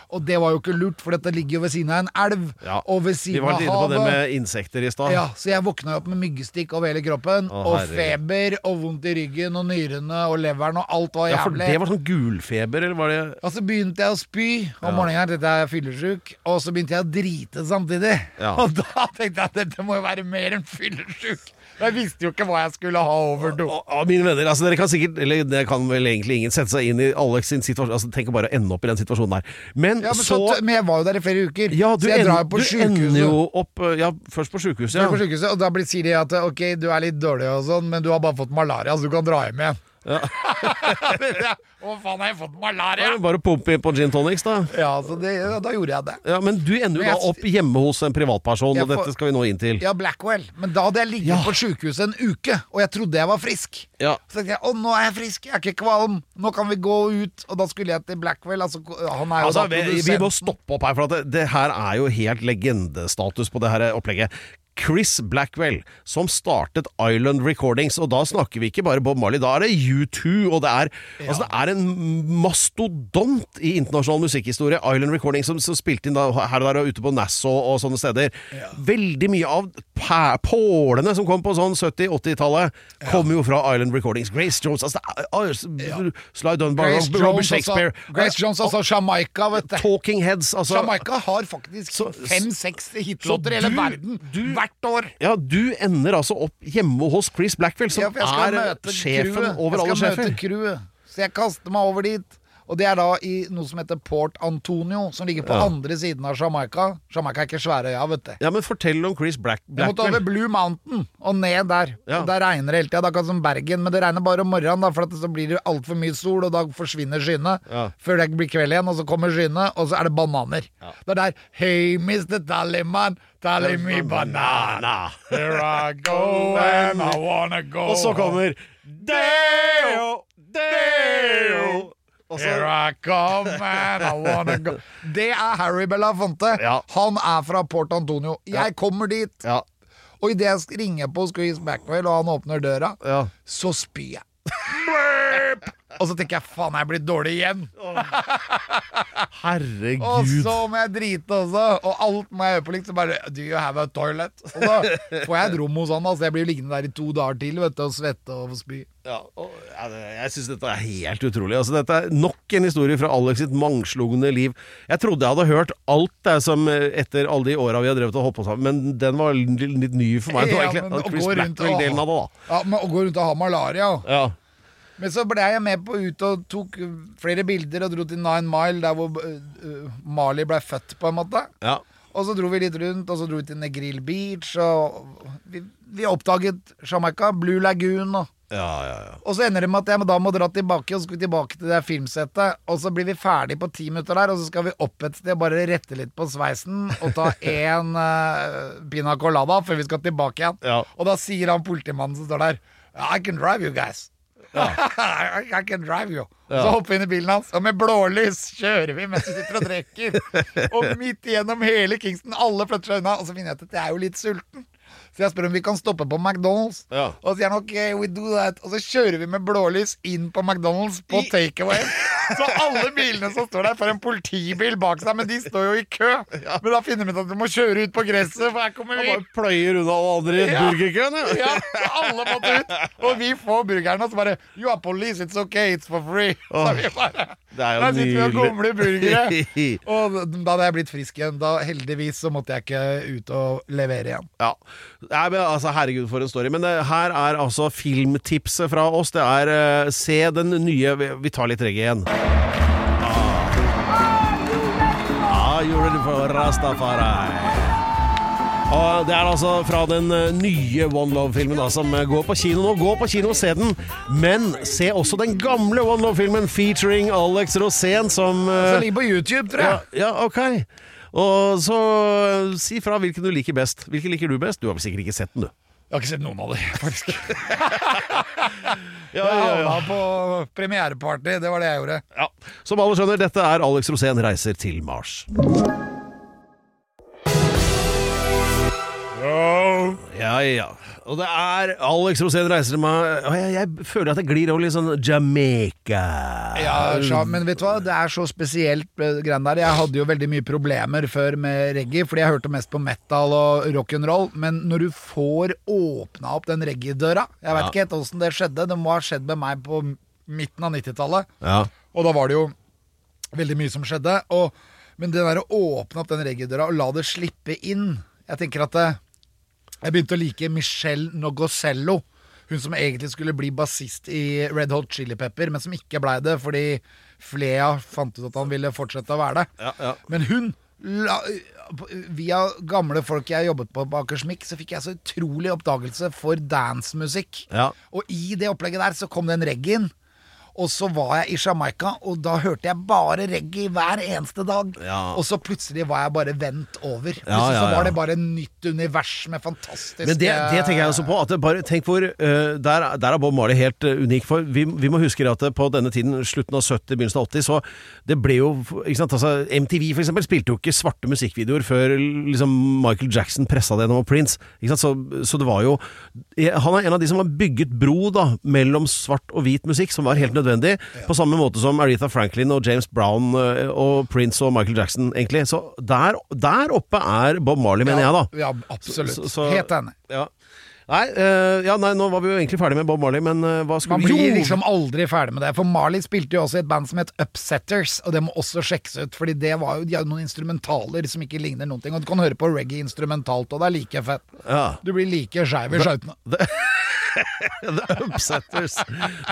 Speaker 6: Og det var jo ikke lurt, for dette ligger jo ved siden av en elv.
Speaker 5: ja.
Speaker 6: Og ved
Speaker 5: Vi
Speaker 6: siden
Speaker 5: var
Speaker 6: av
Speaker 5: litt inne på det
Speaker 6: havet.
Speaker 5: med insekter i stad.
Speaker 6: Ja, så jeg våkna jo opp med myggstikk over hele kroppen.
Speaker 5: Å,
Speaker 6: og
Speaker 5: herregud.
Speaker 6: feber og vondt i ryggen og nyrene og leveren og alt var
Speaker 5: Ja, for
Speaker 6: jævlig.
Speaker 5: det var sånn gulfeber, eller var det
Speaker 6: Og så begynte jeg å spy om morgenen. her, Dette er jeg fyllesyk. Og så begynte jeg å drite samtidig.
Speaker 5: Ja.
Speaker 6: Og da tenkte jeg at dette må jo være mer enn fyllesyk. Jeg visste jo ikke hva jeg skulle ha over do.
Speaker 5: Å, å, mine venner, altså dere kan sikkert Eller det kan vel egentlig ingen sette seg inn i Alex sin situasjon Altså Tenk å bare ende opp i den situasjonen der. Men,
Speaker 6: Ja, men,
Speaker 5: så,
Speaker 6: så, men jeg var jo der i flere uker,
Speaker 5: Ja, du,
Speaker 6: så jeg
Speaker 5: end,
Speaker 6: drar jo på
Speaker 5: du ender jo
Speaker 6: sjukehuset.
Speaker 5: opp øh, Ja, først på sjukehuset.
Speaker 6: Drar
Speaker 5: Ja.
Speaker 6: På sykehuset, og da blir, sier de at ok, du er litt dårlig og sånn, men du har bare fått malaria, så du kan dra hjem igjen. Å faen, har jeg fått
Speaker 5: Da
Speaker 6: malaria?
Speaker 5: er det Bare å pumpe inn på gin tonics, da.
Speaker 6: Ja, så det, da gjorde jeg det.
Speaker 5: Ja, Men du ender jo
Speaker 6: Men jeg-
Speaker 5: da opp hjemme hos en privatperson,
Speaker 6: Jeg
Speaker 5: og
Speaker 6: får-
Speaker 5: dette skal vi nå inn til.
Speaker 6: Ja, Blackwell. Men da hadde jeg ligget
Speaker 5: Ja.
Speaker 6: på sjukehuset en uke, og jeg trodde jeg var frisk.
Speaker 5: Ja.
Speaker 6: Så tenkte jeg å, nå er jeg frisk, jeg er ikke kvalm, nå kan vi gå ut. Og da skulle jeg til Blackwell. Altså, han er jo
Speaker 5: Altså,
Speaker 6: da
Speaker 5: vi, vi
Speaker 6: produsenten.
Speaker 5: må stoppe opp her, for at det, det her er jo helt legendestatus på det her opplegget. Chris Blackwell, som startet Island Recordings, og da snakker vi ikke bare Bob Marley, da er det U2, og det er, altså, det er en mastodont i internasjonal musikkhistorie. Island Recordings som, som spilte inn da, her og der og ute på Nassau og sånne steder. Veldig mye av pæ- pålene som kom på sånn 70-80-tallet, kom jo fra Island Recordings. Grace Jones, altså, det er, Sly Dunbar,
Speaker 6: Grace
Speaker 5: Robert
Speaker 6: Jones,
Speaker 5: Shakespeare.
Speaker 6: altså, Grace Jones, altså Jamaica, vet du.
Speaker 5: Talking Heads, altså
Speaker 6: Jamaica har faktisk
Speaker 5: Så-
Speaker 6: fem-seks
Speaker 5: så
Speaker 6: hitlåter i hele
Speaker 5: du-
Speaker 6: verden
Speaker 5: du-
Speaker 6: hvert år.
Speaker 5: Ja, du ender altså opp hjemme hos Chris Blackwell, som
Speaker 6: Ja, for jeg skal
Speaker 5: er
Speaker 6: møte
Speaker 5: sjefen
Speaker 6: crewet.
Speaker 5: over alle
Speaker 6: Jeg skal
Speaker 5: sjefer.
Speaker 6: møte crewet, så jeg kaster meg over dit. Og det er da i noe som heter Port Antonio, som ligger på
Speaker 5: Ja.
Speaker 6: andre siden av Jamaica. Jamaica er ikke Sværøya, vet du.
Speaker 5: Ja, men fortell om Chris Black
Speaker 6: Vi måtte
Speaker 5: Blackwell.
Speaker 6: over Blue Mountain og ned der.
Speaker 5: Ja.
Speaker 6: Og Der regner det hele tida. Det er akkurat som Bergen, men det regner bare om morgenen, da, for at så blir det altfor mye sol, og da forsvinner skyene.
Speaker 5: Ja.
Speaker 6: Før det blir kveld igjen, og så kommer skyene, og så er det bananer. Det er der Hey, Mr. Tallyman, tally me banana.
Speaker 5: Banana.
Speaker 6: Here I go and I wanna go.
Speaker 5: Og så kommer Deo, Deo. Og
Speaker 6: Here
Speaker 5: så
Speaker 6: I come and I wanna go. Det er Harry Belafonte.
Speaker 5: Ja.
Speaker 6: Han er fra Port Antonio. Jeg kommer dit.
Speaker 5: ja.
Speaker 6: Og idet jeg ringer på hos Chris Blackwell, og han åpner døra,
Speaker 5: Ja.
Speaker 6: så spyr jeg. bleep! Og så tenker jeg faen, jeg er blitt dårlig igjen. Og
Speaker 5: Herregud.
Speaker 6: så må jeg drite også. Og alt må jeg høre på likt. Så bare Do you have a toilet? Og da får jeg et rom hos han. Altså, jeg blir liggende der i to dager til vet du, og svette og spy.
Speaker 5: Ja, og, ja, det- jeg syns dette er helt utrolig. Altså, dette er nok en historie fra Alex sitt mangslungne liv. Jeg trodde jeg hadde hørt alt det som eh, etter alle de åra vi har drevet og holdt på sammen, men den var l- litt ny for meg. Det var
Speaker 6: Ja,
Speaker 5: egentlig
Speaker 6: men å
Speaker 5: Chris
Speaker 6: gå rundt og ha-
Speaker 5: Blackwell-delen av det, da.
Speaker 6: Ja, men Å gå rundt og ha malaria.
Speaker 5: Ja.
Speaker 6: Men så ble jeg med på ut og tok øh, flere bilder og dro til Nine Mile, der hvor øh, øh, Mali ble født, på en måte.
Speaker 5: Ja.
Speaker 6: Og så dro vi litt rundt, og så dro vi til Negril Beach, og vi, vi oppdaget Jamaica, Blue Lagoon, og,
Speaker 5: Ja, ja, ja.
Speaker 6: og så ender det med at jeg da må dra tilbake, og så skal vi tilbake til det filmsettet, og så blir vi ferdig på ti minutter der, og så skal vi opp et sted, bare rette litt på sveisen, og ta en øh, pina colada før vi skal tilbake igjen.
Speaker 5: Ja.
Speaker 6: Og da sier han politimannen som står der, I can drive you guys. I, I can drive you. Så hopper vi inn i bilen hans, og med blålys kjører vi mens vi sitter og drikker. og midt igjennom hele Kingston, alle flytter seg unna, og så finner jeg ut at jeg er jo litt sulten. Så jeg spør om vi kan stoppe på McDonald's,
Speaker 5: Ja.
Speaker 6: og så sier han ok, we do that. Og så kjører vi med blålys inn på McDonald's på takeaway. Så alle bilene som står der, får en politibil bak seg, men de står jo i kø. Men da finner vi ut at vi må kjøre ut på gresset, for her kommer vi.
Speaker 5: Bare pløyer unna alle andre i
Speaker 6: Ja.
Speaker 5: burgerkøen, ja.
Speaker 6: Ja, så alle måtte ut. Og vi får burgeren, og så bare You are police, it's okay, it's for free. Så
Speaker 5: Åh,
Speaker 6: vi bare
Speaker 5: det er jo
Speaker 6: Der sitter vi og
Speaker 5: nydelig.
Speaker 6: gomler burgere. Og da hadde jeg blitt frisk igjen. Da heldigvis så måtte jeg ikke ut og levere igjen.
Speaker 5: Ja. Nei, men altså, herregud, for en story. Men eh, her er altså filmtipset fra oss. Det er eh, se den nye Vi- Vi tar litt reggae igjen. Ah. Are you ready for Rastafari? Og det er altså fra den eh, nye One Love-filmen da, som eh, går på kino nå. Gå på kino og se den, men se også den gamle One Love-filmen featuring Alex Rosén som eh,
Speaker 6: Så Altså, ligger på YouTube, tror jeg.
Speaker 5: ja, ja, ok. Og så eh, si fra hvilken du liker best. Hvilken liker du best? Du har vel sikkert ikke sett den, du.
Speaker 6: Jeg har ikke sett noen av dem, faktisk.
Speaker 5: Ja,
Speaker 6: Jeg havna på premiereparty, det var det jeg gjorde.
Speaker 5: Ja. Som alle skjønner, dette er Alex Rosén reiser til Mars. Ja, ja. Og det er Alex Rosén reiser til Mars Og jeg, jeg føler at det glir over litt sånn Jamaica.
Speaker 6: Ja, sja, men vet du hva, det er så spesielt eh, greiene der. Jeg hadde jo veldig mye problemer før med reggae, fordi jeg hørte mest på metal og rock'n'roll. Men når du får åpna opp den reggae-døra Jeg veit ikke helt åssen det skjedde, det må ha skjedd med meg på midten av 90-tallet.
Speaker 5: Ja.
Speaker 6: Og da var det jo veldig mye som skjedde. Og, men det der å åpne opp den reggae-døra og la det slippe inn Jeg tenker at eh, jeg begynte å like Michelle Nogosello. Hun som egentlig skulle bli bassist i Red Hot Chili Pepper, men som ikke blei det fordi Flea fant ut at han ville fortsette å være det. Men hun la, Via gamle folk jeg jobbet på på Akersmik, så fikk jeg så utrolig oppdagelse for dancemusikk.
Speaker 5: Ja.
Speaker 6: Og i det opplegget der så kom den reggaen. Og så var jeg i Jamaica, og da hørte jeg bare reggae hver eneste dag.
Speaker 5: Ja.
Speaker 6: Og så plutselig var jeg bare vendt over.
Speaker 5: Ja,
Speaker 6: Plutselig
Speaker 5: ja,
Speaker 6: så
Speaker 5: ja.
Speaker 6: var det bare et nytt univers med fantastiske
Speaker 5: Men det, det tenker jeg også på. At det bare, tenk hvor, eh, der, der er Bob Marley helt eh, unik. For vi, vi må huske at det på denne tiden, slutten av 70, begynnelsen av 80, så det ble jo ikke sant, altså, MTV for eksempel spilte jo ikke svarte musikkvideoer før liksom, Michael Jackson pressa det gjennom og Prince. Ikke sant? Så, så det var jo eh, Han er en av de som har bygget bro da, mellom svart og hvit musikk, som var helt nødvendig. På samme måte som Aretha Franklin og James Brown eh, og Prince og Michael Jackson, egentlig. Så der, der oppe er Bob Marley, mener jeg, da.
Speaker 6: Ja, absolutt.
Speaker 5: Så- så-
Speaker 6: Helt enig.
Speaker 5: Ja. Nei, eh, ja, nei, nå var vi jo egentlig ferdig med Bob Marley, men eh, hva skulle
Speaker 6: Man
Speaker 5: vi
Speaker 6: blir
Speaker 5: Jo!
Speaker 6: liksom aldri ferdig med det. For Marley spilte jo også i et band som het Upsetters, og det må også sjekkes ut. Fordi det var jo de hadde noen instrumentaler som ikke ligner noen ting. Og du kan høre på reggae instrumentalt, og det er like fett.
Speaker 5: Ja.
Speaker 6: Du blir like skeiv i skøytene.
Speaker 5: The Upsetters.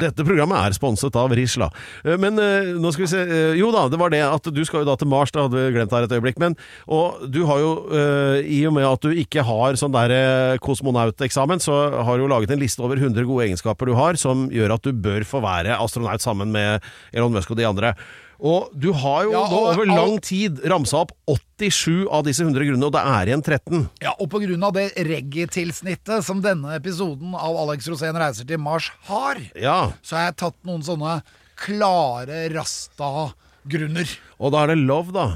Speaker 5: Dette programmet er sponset av Risla. Eh, Men eh, nå skal vi se eh, Jo da, det var det at du skal jo da til Mars, det hadde vi glemt her et øyeblikk. Men, og du har jo, eh, i og med at du ikke har sånn der eh, kosmonauteksamen, så har du jo laget en liste over 100 gode egenskaper du har, som gjør at du bør få være astronaut sammen med Elon Musk og de andre. Og du har jo
Speaker 6: Ja,
Speaker 5: nå
Speaker 6: og
Speaker 5: over
Speaker 6: all-
Speaker 5: lang tid ramsa opp 87 av disse 100 grunnene, og det er igjen 13.
Speaker 6: Ja, og på grunn av det reggae-tilsnittet som denne episoden av Alex Rosén reiser til Mars har,
Speaker 5: Ja.
Speaker 6: så har jeg tatt noen sånne klare rasta-grunner.
Speaker 5: Og da er det love, da.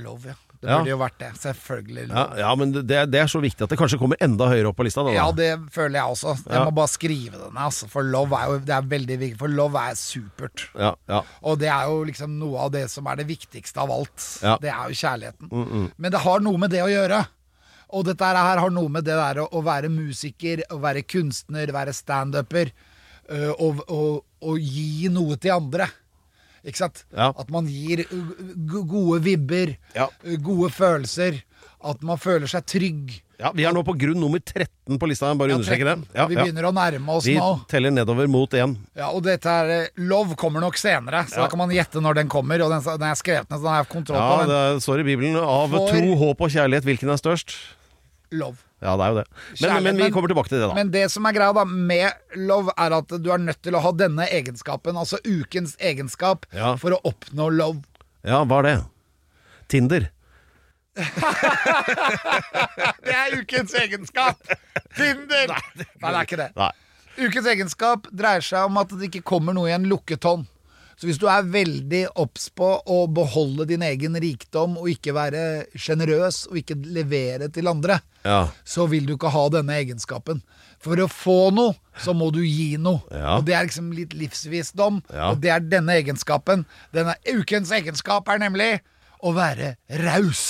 Speaker 6: Love, ja. Det
Speaker 5: Ja.
Speaker 6: burde jo vært det. Selvfølgelig.
Speaker 5: Ja, ja men det, det er så viktig at det kanskje kommer enda høyere opp på lista. Da, da.
Speaker 6: Ja, det føler jeg også. Jeg
Speaker 5: Ja.
Speaker 6: må bare skrive den, altså. For love er jo det er veldig viktig. For love er supert.
Speaker 5: Ja, ja.
Speaker 6: Og det er jo liksom noe av det som er det viktigste av alt.
Speaker 5: Ja. Mm,
Speaker 6: Det er jo kjærligheten. Men det har noe med det å gjøre. Og dette her har noe med det der å, å være musiker, å være kunstner, være standuper. øh, Og, og, og gi noe til andre. Ikke sant?
Speaker 5: Ja.
Speaker 6: At man gir øh, go- gode vibber,
Speaker 5: Ja.
Speaker 6: øh, gode følelser. At man føler seg trygg.
Speaker 5: Ja, vi er nå på grunn nummer 13 på lista. jeg Bare understreker det. Ja,
Speaker 6: vi
Speaker 5: ja.
Speaker 6: begynner å nærme oss
Speaker 5: Vi
Speaker 6: nå.
Speaker 5: teller nedover mot én.
Speaker 6: Ja, og dette er eh, Love kommer nok senere, så da kan man gjette når den kommer. Og den, den er skrevet ned, så den har jeg kontroll
Speaker 5: Ja,
Speaker 6: på. Men
Speaker 5: det står i Bibelen. Av
Speaker 6: For-
Speaker 5: tro, håp og kjærlighet, hvilken er størst?
Speaker 6: Love.
Speaker 5: Ja, det er jo det. Men,
Speaker 6: Kjærlighet,
Speaker 5: men vi kommer tilbake til det, da.
Speaker 6: Men det som er greia da med love, er at du er nødt til å ha denne egenskapen, altså ukens egenskap,
Speaker 5: Ja.
Speaker 6: for å oppnå love.
Speaker 5: Ja, hva er det? Tinder.
Speaker 6: Det er ukens egenskap! Tinder! Nei, det er ikke det.
Speaker 5: Nei.
Speaker 6: Ukens egenskap dreier seg om at det ikke kommer noe i en lukket hånd. Så hvis du er veldig obs på å beholde din egen rikdom og ikke være sjenerøs og ikke levere til andre,
Speaker 5: Ja.
Speaker 6: så vil du ikke ha denne egenskapen. For å få noe, så må du gi noe.
Speaker 5: Ja.
Speaker 6: Og det er liksom litt livsvisdom,
Speaker 5: Ja.
Speaker 6: og det er denne egenskapen. Denne ukens egenskap er nemlig å være raus.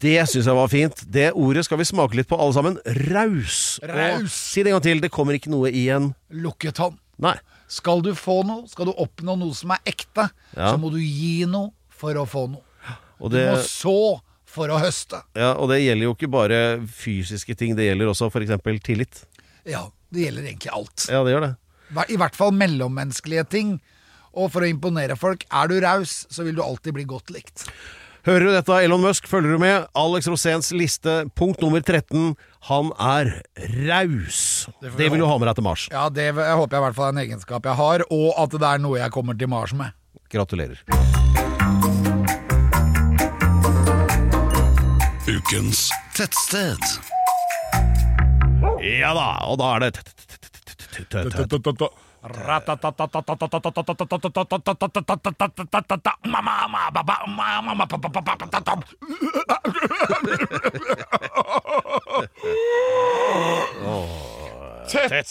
Speaker 5: Det syns jeg var fint. Det ordet skal vi smake litt på, alle sammen. Raus. Og
Speaker 6: Raus.
Speaker 5: Si det en gang til. Det kommer ikke noe i en
Speaker 6: Lukket hånd.
Speaker 5: Nei.
Speaker 6: Skal du få noe, skal du oppnå noe som er ekte,
Speaker 5: Ja.
Speaker 6: så må du gi noe for å få noe.
Speaker 5: Og
Speaker 6: Du
Speaker 5: det,
Speaker 6: må så for å høste.
Speaker 5: ja, og det gjelder jo ikke bare fysiske ting, det gjelder også f.eks. tillit.
Speaker 6: Ja, det gjelder egentlig alt.
Speaker 5: Ja, det gjør det.
Speaker 6: I hvert fall mellommenneskelige ting. Og for å imponere folk, er du raus, så vil du alltid bli godt likt.
Speaker 5: Hører du dette, Elon Musk? Følger du med? Alex Roséns liste, punkt nummer 13. Han er raus. Det, vil du ha med deg til Mars.
Speaker 6: Ja, det v- jeg håper jeg i hvert fall er en egenskap jeg har, og at det er noe jeg kommer til Mars med.
Speaker 5: Gratulerer.
Speaker 2: Ukens
Speaker 8: Tettsted.
Speaker 5: Ja da, og da er det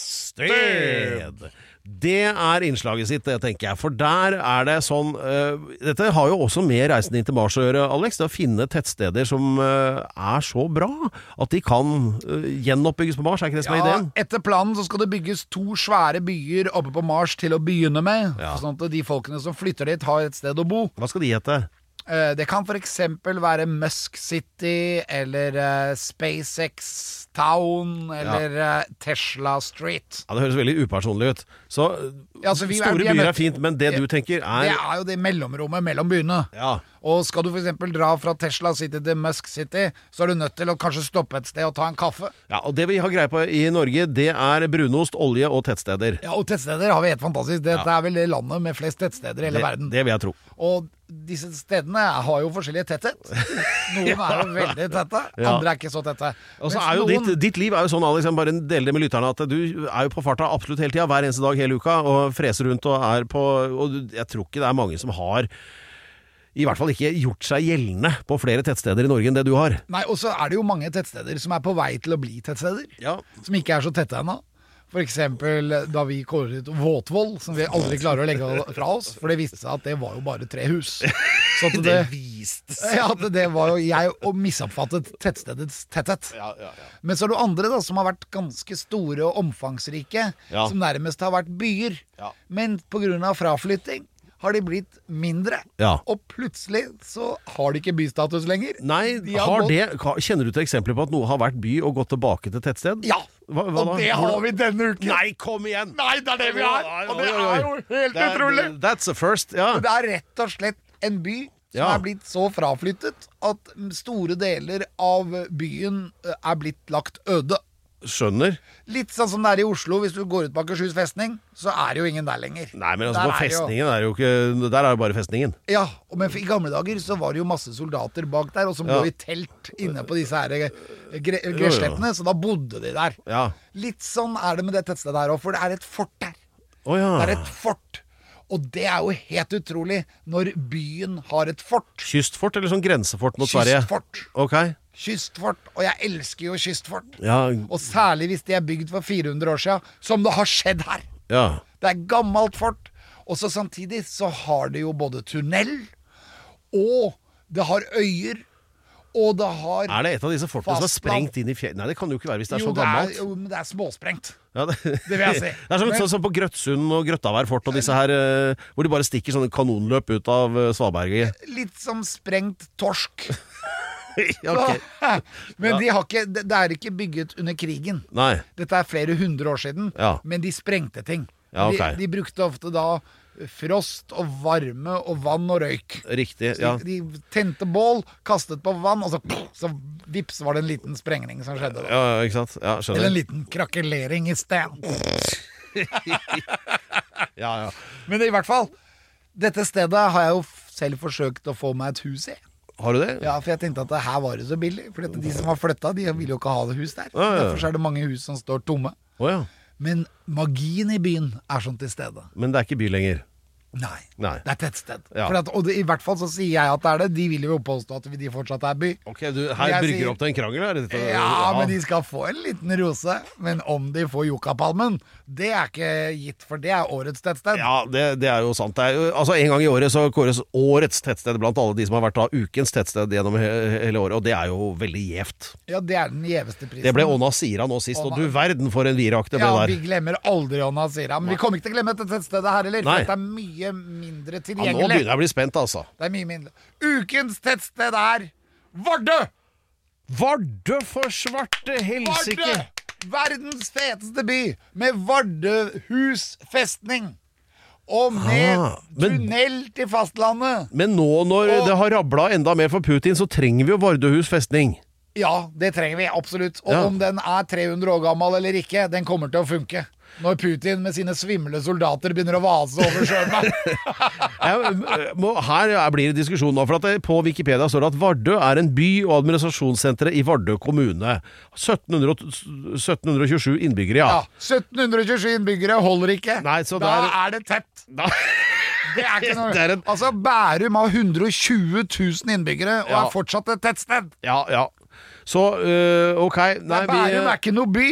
Speaker 5: tettsted. Det er innslaget sitt, det, tenker jeg. For der er det sånn eh, Dette har jo også med reisen inn til Mars å gjøre, Alex. Det å finne tettsteder som eh, er så bra at de kan eh, gjenoppbygges på Mars. Er ikke det som er
Speaker 6: Ja,
Speaker 5: ideen?
Speaker 6: etter planen så skal det bygges to svære byer oppe på Mars til å begynne med,
Speaker 5: Ja.
Speaker 6: sånn at de folkene som flytter dit har et sted å bo.
Speaker 5: Hva skal de hete?
Speaker 6: Eh, Det kan for eksempel være Musk City, eller eh, SpaceX Town, eller eh, Tesla Street.
Speaker 5: Ja, Det høres veldig upersonlig ut. Så eh,
Speaker 6: Ja, altså, vi er-
Speaker 5: Store
Speaker 6: vi er
Speaker 5: byer
Speaker 6: nødt-
Speaker 5: er fint, men det du tenker
Speaker 6: Det
Speaker 5: er
Speaker 6: er jo det mellomrommet mellom byene.
Speaker 5: Ja.
Speaker 6: Og skal du for eksempel dra fra Tesla City til Musk City, så er du nødt til å kanskje stoppe et sted og ta en kaffe.
Speaker 5: ja, og Det vi har greie på i Norge, det er brunost, olje og tettsteder.
Speaker 6: Ja, og tettsteder har vi helt fantastisk. Dette er vel det landet med flest tettsteder i hele
Speaker 5: Det,
Speaker 6: verden.
Speaker 5: det vil jeg tro.
Speaker 6: Og disse stedene har jo forskjellige tetthet. Noen er jo veldig tette,
Speaker 5: Ja.
Speaker 6: andre er ikke så tette.
Speaker 5: Og så
Speaker 6: Mens
Speaker 5: er jo
Speaker 6: noen-
Speaker 5: ditt, ditt liv er jo sånn, Alex, jeg må bare del det med lytterne, at du er jo på farta absolutt hele tida, hver eneste dag hele uka, og freser rundt og er på Og du- jeg tror ikke det er mange som har i hvert fall ikke gjort seg gjeldende på flere tettsteder i Norge enn det du har.
Speaker 6: Nei, og så er det jo mange tettsteder som er på vei til å bli tettsteder.
Speaker 5: Ja.
Speaker 6: Som ikke er så tette ennå. For eksempel da vi kåret ut Våtvoll, som vi aldri klarer å legge fra oss. For det viste seg at det var jo bare tre hus. Så at det,
Speaker 5: Eh. viste
Speaker 6: ja, at det var jo jeg og misoppfattet tettstedets tetthet. Men så er det jo andre da som har vært ganske store og omfangsrike,
Speaker 5: Ja.
Speaker 6: som nærmest har vært byer.
Speaker 5: Ja.
Speaker 6: Men pga. fraflytting har de blitt mindre.
Speaker 5: Ja.
Speaker 6: Og plutselig så har de ikke bystatus lenger.
Speaker 5: Nei,
Speaker 6: De har
Speaker 5: har
Speaker 6: gått-
Speaker 5: det, kjenner du til eksempler på at noe har vært by og gått tilbake til tettsted?
Speaker 6: Ja,
Speaker 5: Hva, hva da?
Speaker 6: og det har vi denne uken.
Speaker 5: Nei, kom igjen!
Speaker 6: Nei, det er det vi har! Og det er jo helt
Speaker 5: Det er-
Speaker 6: utrolig.
Speaker 5: That's a first, ja.
Speaker 6: Det er rett og slett en by som
Speaker 5: Ja.
Speaker 6: er blitt så fraflyttet at store deler av byen eh, er blitt lagt øde.
Speaker 5: Skjønner.
Speaker 6: Litt sånn som det er i Oslo. Hvis du går ut på Akershus festning, så er det jo ingen der lenger.
Speaker 5: Nei, men altså,
Speaker 6: Der
Speaker 5: på
Speaker 6: er det jo-
Speaker 5: festningen er jo ikke Der er jo bare festningen.
Speaker 6: Ja, og men i gamle dager så var det jo masse soldater bak der, og som
Speaker 5: Ja.
Speaker 6: lå i telt inne på disse her eh, gre greslettene, så da bodde de der.
Speaker 5: Ja.
Speaker 6: Litt sånn er det med det tettstedet her òg, for det er et fort der.
Speaker 5: Å ja.
Speaker 6: Det er et fort. Og det er jo helt utrolig når byen har et fort.
Speaker 5: Kystfort eller sånn grensefort mot Sverige?
Speaker 6: Kystfort.
Speaker 5: Ok.
Speaker 6: Kystfort. Og jeg elsker jo kystfort.
Speaker 5: Ja,
Speaker 6: Og særlig hvis de er bygd for 400 år siden, som det har skjedd her.
Speaker 5: ja.
Speaker 6: Det er gammelt fort. Og så samtidig så har det jo både tunnel, og det har øyer, og det har
Speaker 5: Er det et av disse fortene som er
Speaker 6: Fastland.
Speaker 5: sprengt inn i fjellet? Nei, det kan jo ikke være hvis det er
Speaker 6: jo,
Speaker 5: så
Speaker 6: det er,
Speaker 5: gammelt.
Speaker 6: jo, men det er småsprengt.
Speaker 5: Ja, det,
Speaker 6: Det vil jeg si.
Speaker 5: Det er som,
Speaker 6: Men-
Speaker 5: sånn som på Grøtsund og Grøttavær fort og disse her, eh, hvor de bare stikker sånne kanonløp ut av eh, svaberget.
Speaker 6: Litt som sprengt torsk.
Speaker 5: Ja, ok.
Speaker 6: men de har ikke, det, det er ikke bygget under krigen.
Speaker 5: Nei.
Speaker 6: Dette er flere hundre år siden,
Speaker 5: Ja.
Speaker 6: men de sprengte ting.
Speaker 5: Ja, ok.
Speaker 6: de, de brukte ofte da frost og varme og vann og røyk.
Speaker 5: Riktig.
Speaker 6: Så
Speaker 5: Ja.
Speaker 6: de, de tente bål, kastet på vann, og så, så vips var det en liten sprengning som skjedde. Da.
Speaker 5: ja, ikke sant. Ja,
Speaker 6: Eller
Speaker 5: skjønner.
Speaker 6: en liten krakelering i sted.
Speaker 5: Ja, ja.
Speaker 6: Men i hvert fall, dette stedet har jeg jo f- selv forsøkt å få meg et hus i.
Speaker 5: Har du det?
Speaker 6: Ja, For jeg tenkte at det her var det så billig. For dette, de som har flytta, de vil jo ikke ha det hus der.
Speaker 5: Ja, ja.
Speaker 6: Derfor så er det mange hus som står tomme.
Speaker 5: Å ja.
Speaker 6: Men magien i byen er sånn til stede.
Speaker 5: Men det er ikke by lenger.
Speaker 6: Nei.
Speaker 5: Nei.
Speaker 6: Det er tettsted.
Speaker 5: Ja.
Speaker 6: For at, og det, i hvert fall så sier jeg at det er det. De vil jo påstå at de fortsatt er by.
Speaker 5: Ok, du,
Speaker 6: Men
Speaker 5: Her
Speaker 6: jeg
Speaker 5: brygger
Speaker 6: sier-
Speaker 5: du opp til en krangel? her. Dette-
Speaker 6: Ja, men de skal få en liten rose. Men om de får Jokapalmen, det er ikke gitt, for det er årets tettsted.
Speaker 5: Ja, det, det er jo sant. Det er jo, altså, en gang i året så kåres årets tettsted blant alle de som har vært da ukens tettsted gjennom he hele året, og det er jo veldig gjevt.
Speaker 6: Ja, det er den gjeveste prisen.
Speaker 5: Det ble Åna Sira nå sist, og
Speaker 6: Åna-
Speaker 5: du verden for en virak det ble
Speaker 6: ja,
Speaker 5: der.
Speaker 6: vi glemmer aldri Anna Sira. Men vi kommer ikke til å glemme dette tettstedet her heller.
Speaker 5: Nei.
Speaker 6: For det er mye
Speaker 5: Ja,
Speaker 6: mindre
Speaker 5: nå
Speaker 6: tilgjengelig.
Speaker 5: begynner jeg å bli spent, altså.
Speaker 6: det er mye mindre. Ukens tettsted er Vardø!
Speaker 5: Vardø for svarte
Speaker 6: Vardø!
Speaker 5: helsike!
Speaker 6: Verdens feteste by, med Vardøhus festning. Og med
Speaker 5: Ah, men-
Speaker 6: tunnel til fastlandet.
Speaker 5: Men nå når
Speaker 6: Og-
Speaker 5: det har rabla enda mer for Putin, så trenger vi jo Vardøhus festning.
Speaker 6: Ja, det trenger vi absolutt. Og
Speaker 5: Ja.
Speaker 6: om den er 300 år gammel eller ikke, den kommer til å funke. Når Putin med sine svimle soldater begynner å vase over sjøen.
Speaker 5: Jeg, eh, må, her blir det diskusjon nå, for at det, på Wikipedia står det at Vardø er en by og administrasjonssenteret i Vardø kommune. 1700, og- 1727 innbyggere, ja.
Speaker 6: ja, 1727 innbyggere holder ikke.
Speaker 5: Nei, så
Speaker 6: da
Speaker 5: det er-
Speaker 6: er det tett.
Speaker 5: Da-
Speaker 6: Det er ikke noe
Speaker 5: Det er en-
Speaker 6: Altså, Bærum har 120 000 innbyggere og
Speaker 5: Ja.
Speaker 6: er fortsatt et tettsted.
Speaker 5: Ja, ja. Så øh, ok Nei, vi, eh,
Speaker 6: Bærum er ikke noe by.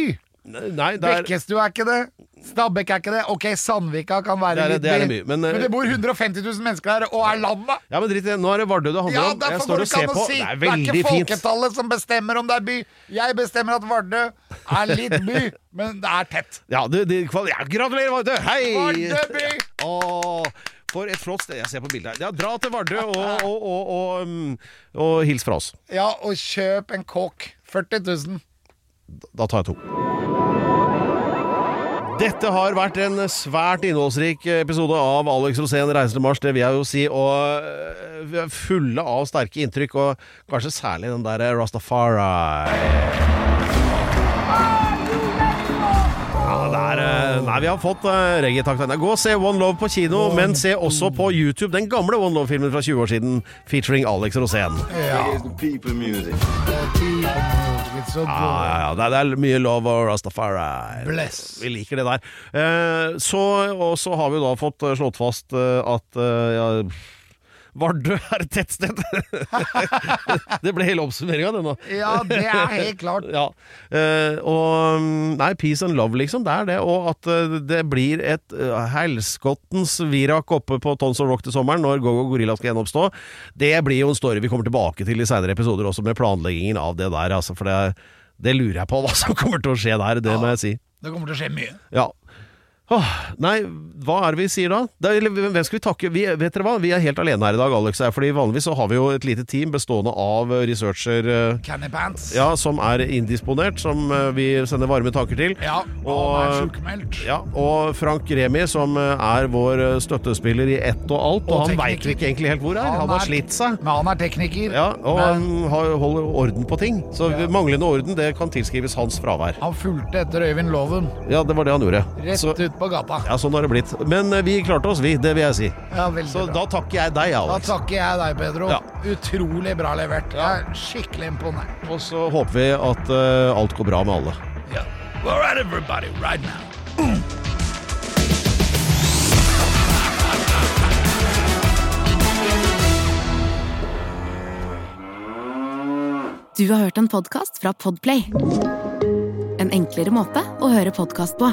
Speaker 5: nei det er,
Speaker 6: Bekkestua er ikke det. Stabekk er ikke det. Ok, Sandvika kan
Speaker 5: Det
Speaker 6: være
Speaker 5: er-
Speaker 6: litt
Speaker 5: det er en
Speaker 6: by.
Speaker 5: by, men, eh,
Speaker 6: men det bor 150 000 mennesker her, og er landet.
Speaker 5: ja, men dritt i det. Nå er det Vardø det handler
Speaker 6: Ja,
Speaker 5: om. Jeg
Speaker 6: derfor
Speaker 5: står
Speaker 6: går det
Speaker 5: og
Speaker 6: ikke
Speaker 5: ser
Speaker 6: an
Speaker 5: på.
Speaker 6: å si.
Speaker 5: Det er
Speaker 6: Det er
Speaker 5: veldig
Speaker 6: ikke
Speaker 5: fint.
Speaker 6: folketallet som bestemmer om det er by. Jeg bestemmer at Vardø er litt by, men det er tett.
Speaker 5: Ja, det, det, kval- ja, gratulerer, Vardø! Hei!
Speaker 6: Vardø by!
Speaker 5: Åh, for et flott sted. Jeg ser på bildet her. Ja, dra til Vardø og, og, og, og, um, og hils fra oss.
Speaker 6: Ja, og kjøp en kåk. 40 000.
Speaker 5: Da tar jeg to. Dette har vært en svært innholdsrik episode av Alex Rosén reiser til Mars, det vil jeg jo si. Og øh, vi er fulle av sterke inntrykk, og kanskje særlig den der Rastafari. Ja, det er, øh, nei, vi har fått øh, reggaetakt. Nei, Gå og se One Love på kino, men se også på YouTube den gamle One Love-filmen fra 20 år siden featuring Alex Rosén.
Speaker 9: It is the people music.
Speaker 6: It's so
Speaker 5: Ja, ja, ja. Det er, det er mye love og Rastafari.
Speaker 6: Bless.
Speaker 5: Vi liker det der. Eh, så, og så har vi da fått eh, slått fast eh, at eh, ja, Vardø er et tettsted. det ble hele oppsummeringa, det nå.
Speaker 6: Ja, det er helt klart.
Speaker 5: Ja. Eh, og mm, Nei, peace and love, liksom. Det er det. Og at eh, det blir et eh, helskottens virak oppe på Tons of Rock til sommeren, når Go-Go Gorilla skal gjenoppstå. Det blir jo en story vi kommer tilbake til i seinere episoder, også med planleggingen av det der. Altså, for det, det lurer jeg på hva som kommer til å skje der, det må jeg si.
Speaker 6: Det kommer til å skje mye.
Speaker 5: Ja. Åh, nei, hva er det vi sier da? Det er, eller, hvem skal vi takke? Vi, vet dere hva? Vi er helt alene her i dag, Alex. og jeg, Fordi vanligvis så har vi jo et lite team bestående av eh, researcher eh,
Speaker 6: Canny pants.
Speaker 5: ja, som er indisponert, som eh, vi sender varme tanker til.
Speaker 6: Ja, og han er
Speaker 5: og, eh,
Speaker 6: sjukmeldt.
Speaker 5: ja, og Frank Remi, som eh, er vår eh, støttespiller i ett og alt. Og,
Speaker 6: Og
Speaker 5: han
Speaker 6: tekniker.
Speaker 5: veit vi ikke egentlig helt hvor er. Han, har slitt seg.
Speaker 6: Men han er tekniker.
Speaker 5: Ja, og
Speaker 6: men
Speaker 5: han har, holder orden på ting. Så manglende orden det kan tilskrives hans fravær.
Speaker 6: han fulgte etter Øyvind Loven
Speaker 5: Ja, det var det han gjorde.
Speaker 6: rett
Speaker 5: Så-
Speaker 6: ut på gata.
Speaker 5: ja, sånn har det blitt. Men eh, vi klarte oss, vi. Det vil jeg si.
Speaker 6: Ja, veldig
Speaker 5: Så
Speaker 6: bra.
Speaker 5: da takker jeg deg,
Speaker 6: Da
Speaker 5: Alex.
Speaker 6: takker jeg deg, Pedro.
Speaker 5: Ja.
Speaker 6: Utrolig bra levert. Jeg er skikkelig imponert.
Speaker 5: Og så håper vi at eh, alt går bra med alle.
Speaker 6: Yeah. All right, everybody, right now.
Speaker 4: Du har hørt en podcast fra Podplay. En enklere måte å høre podcast på.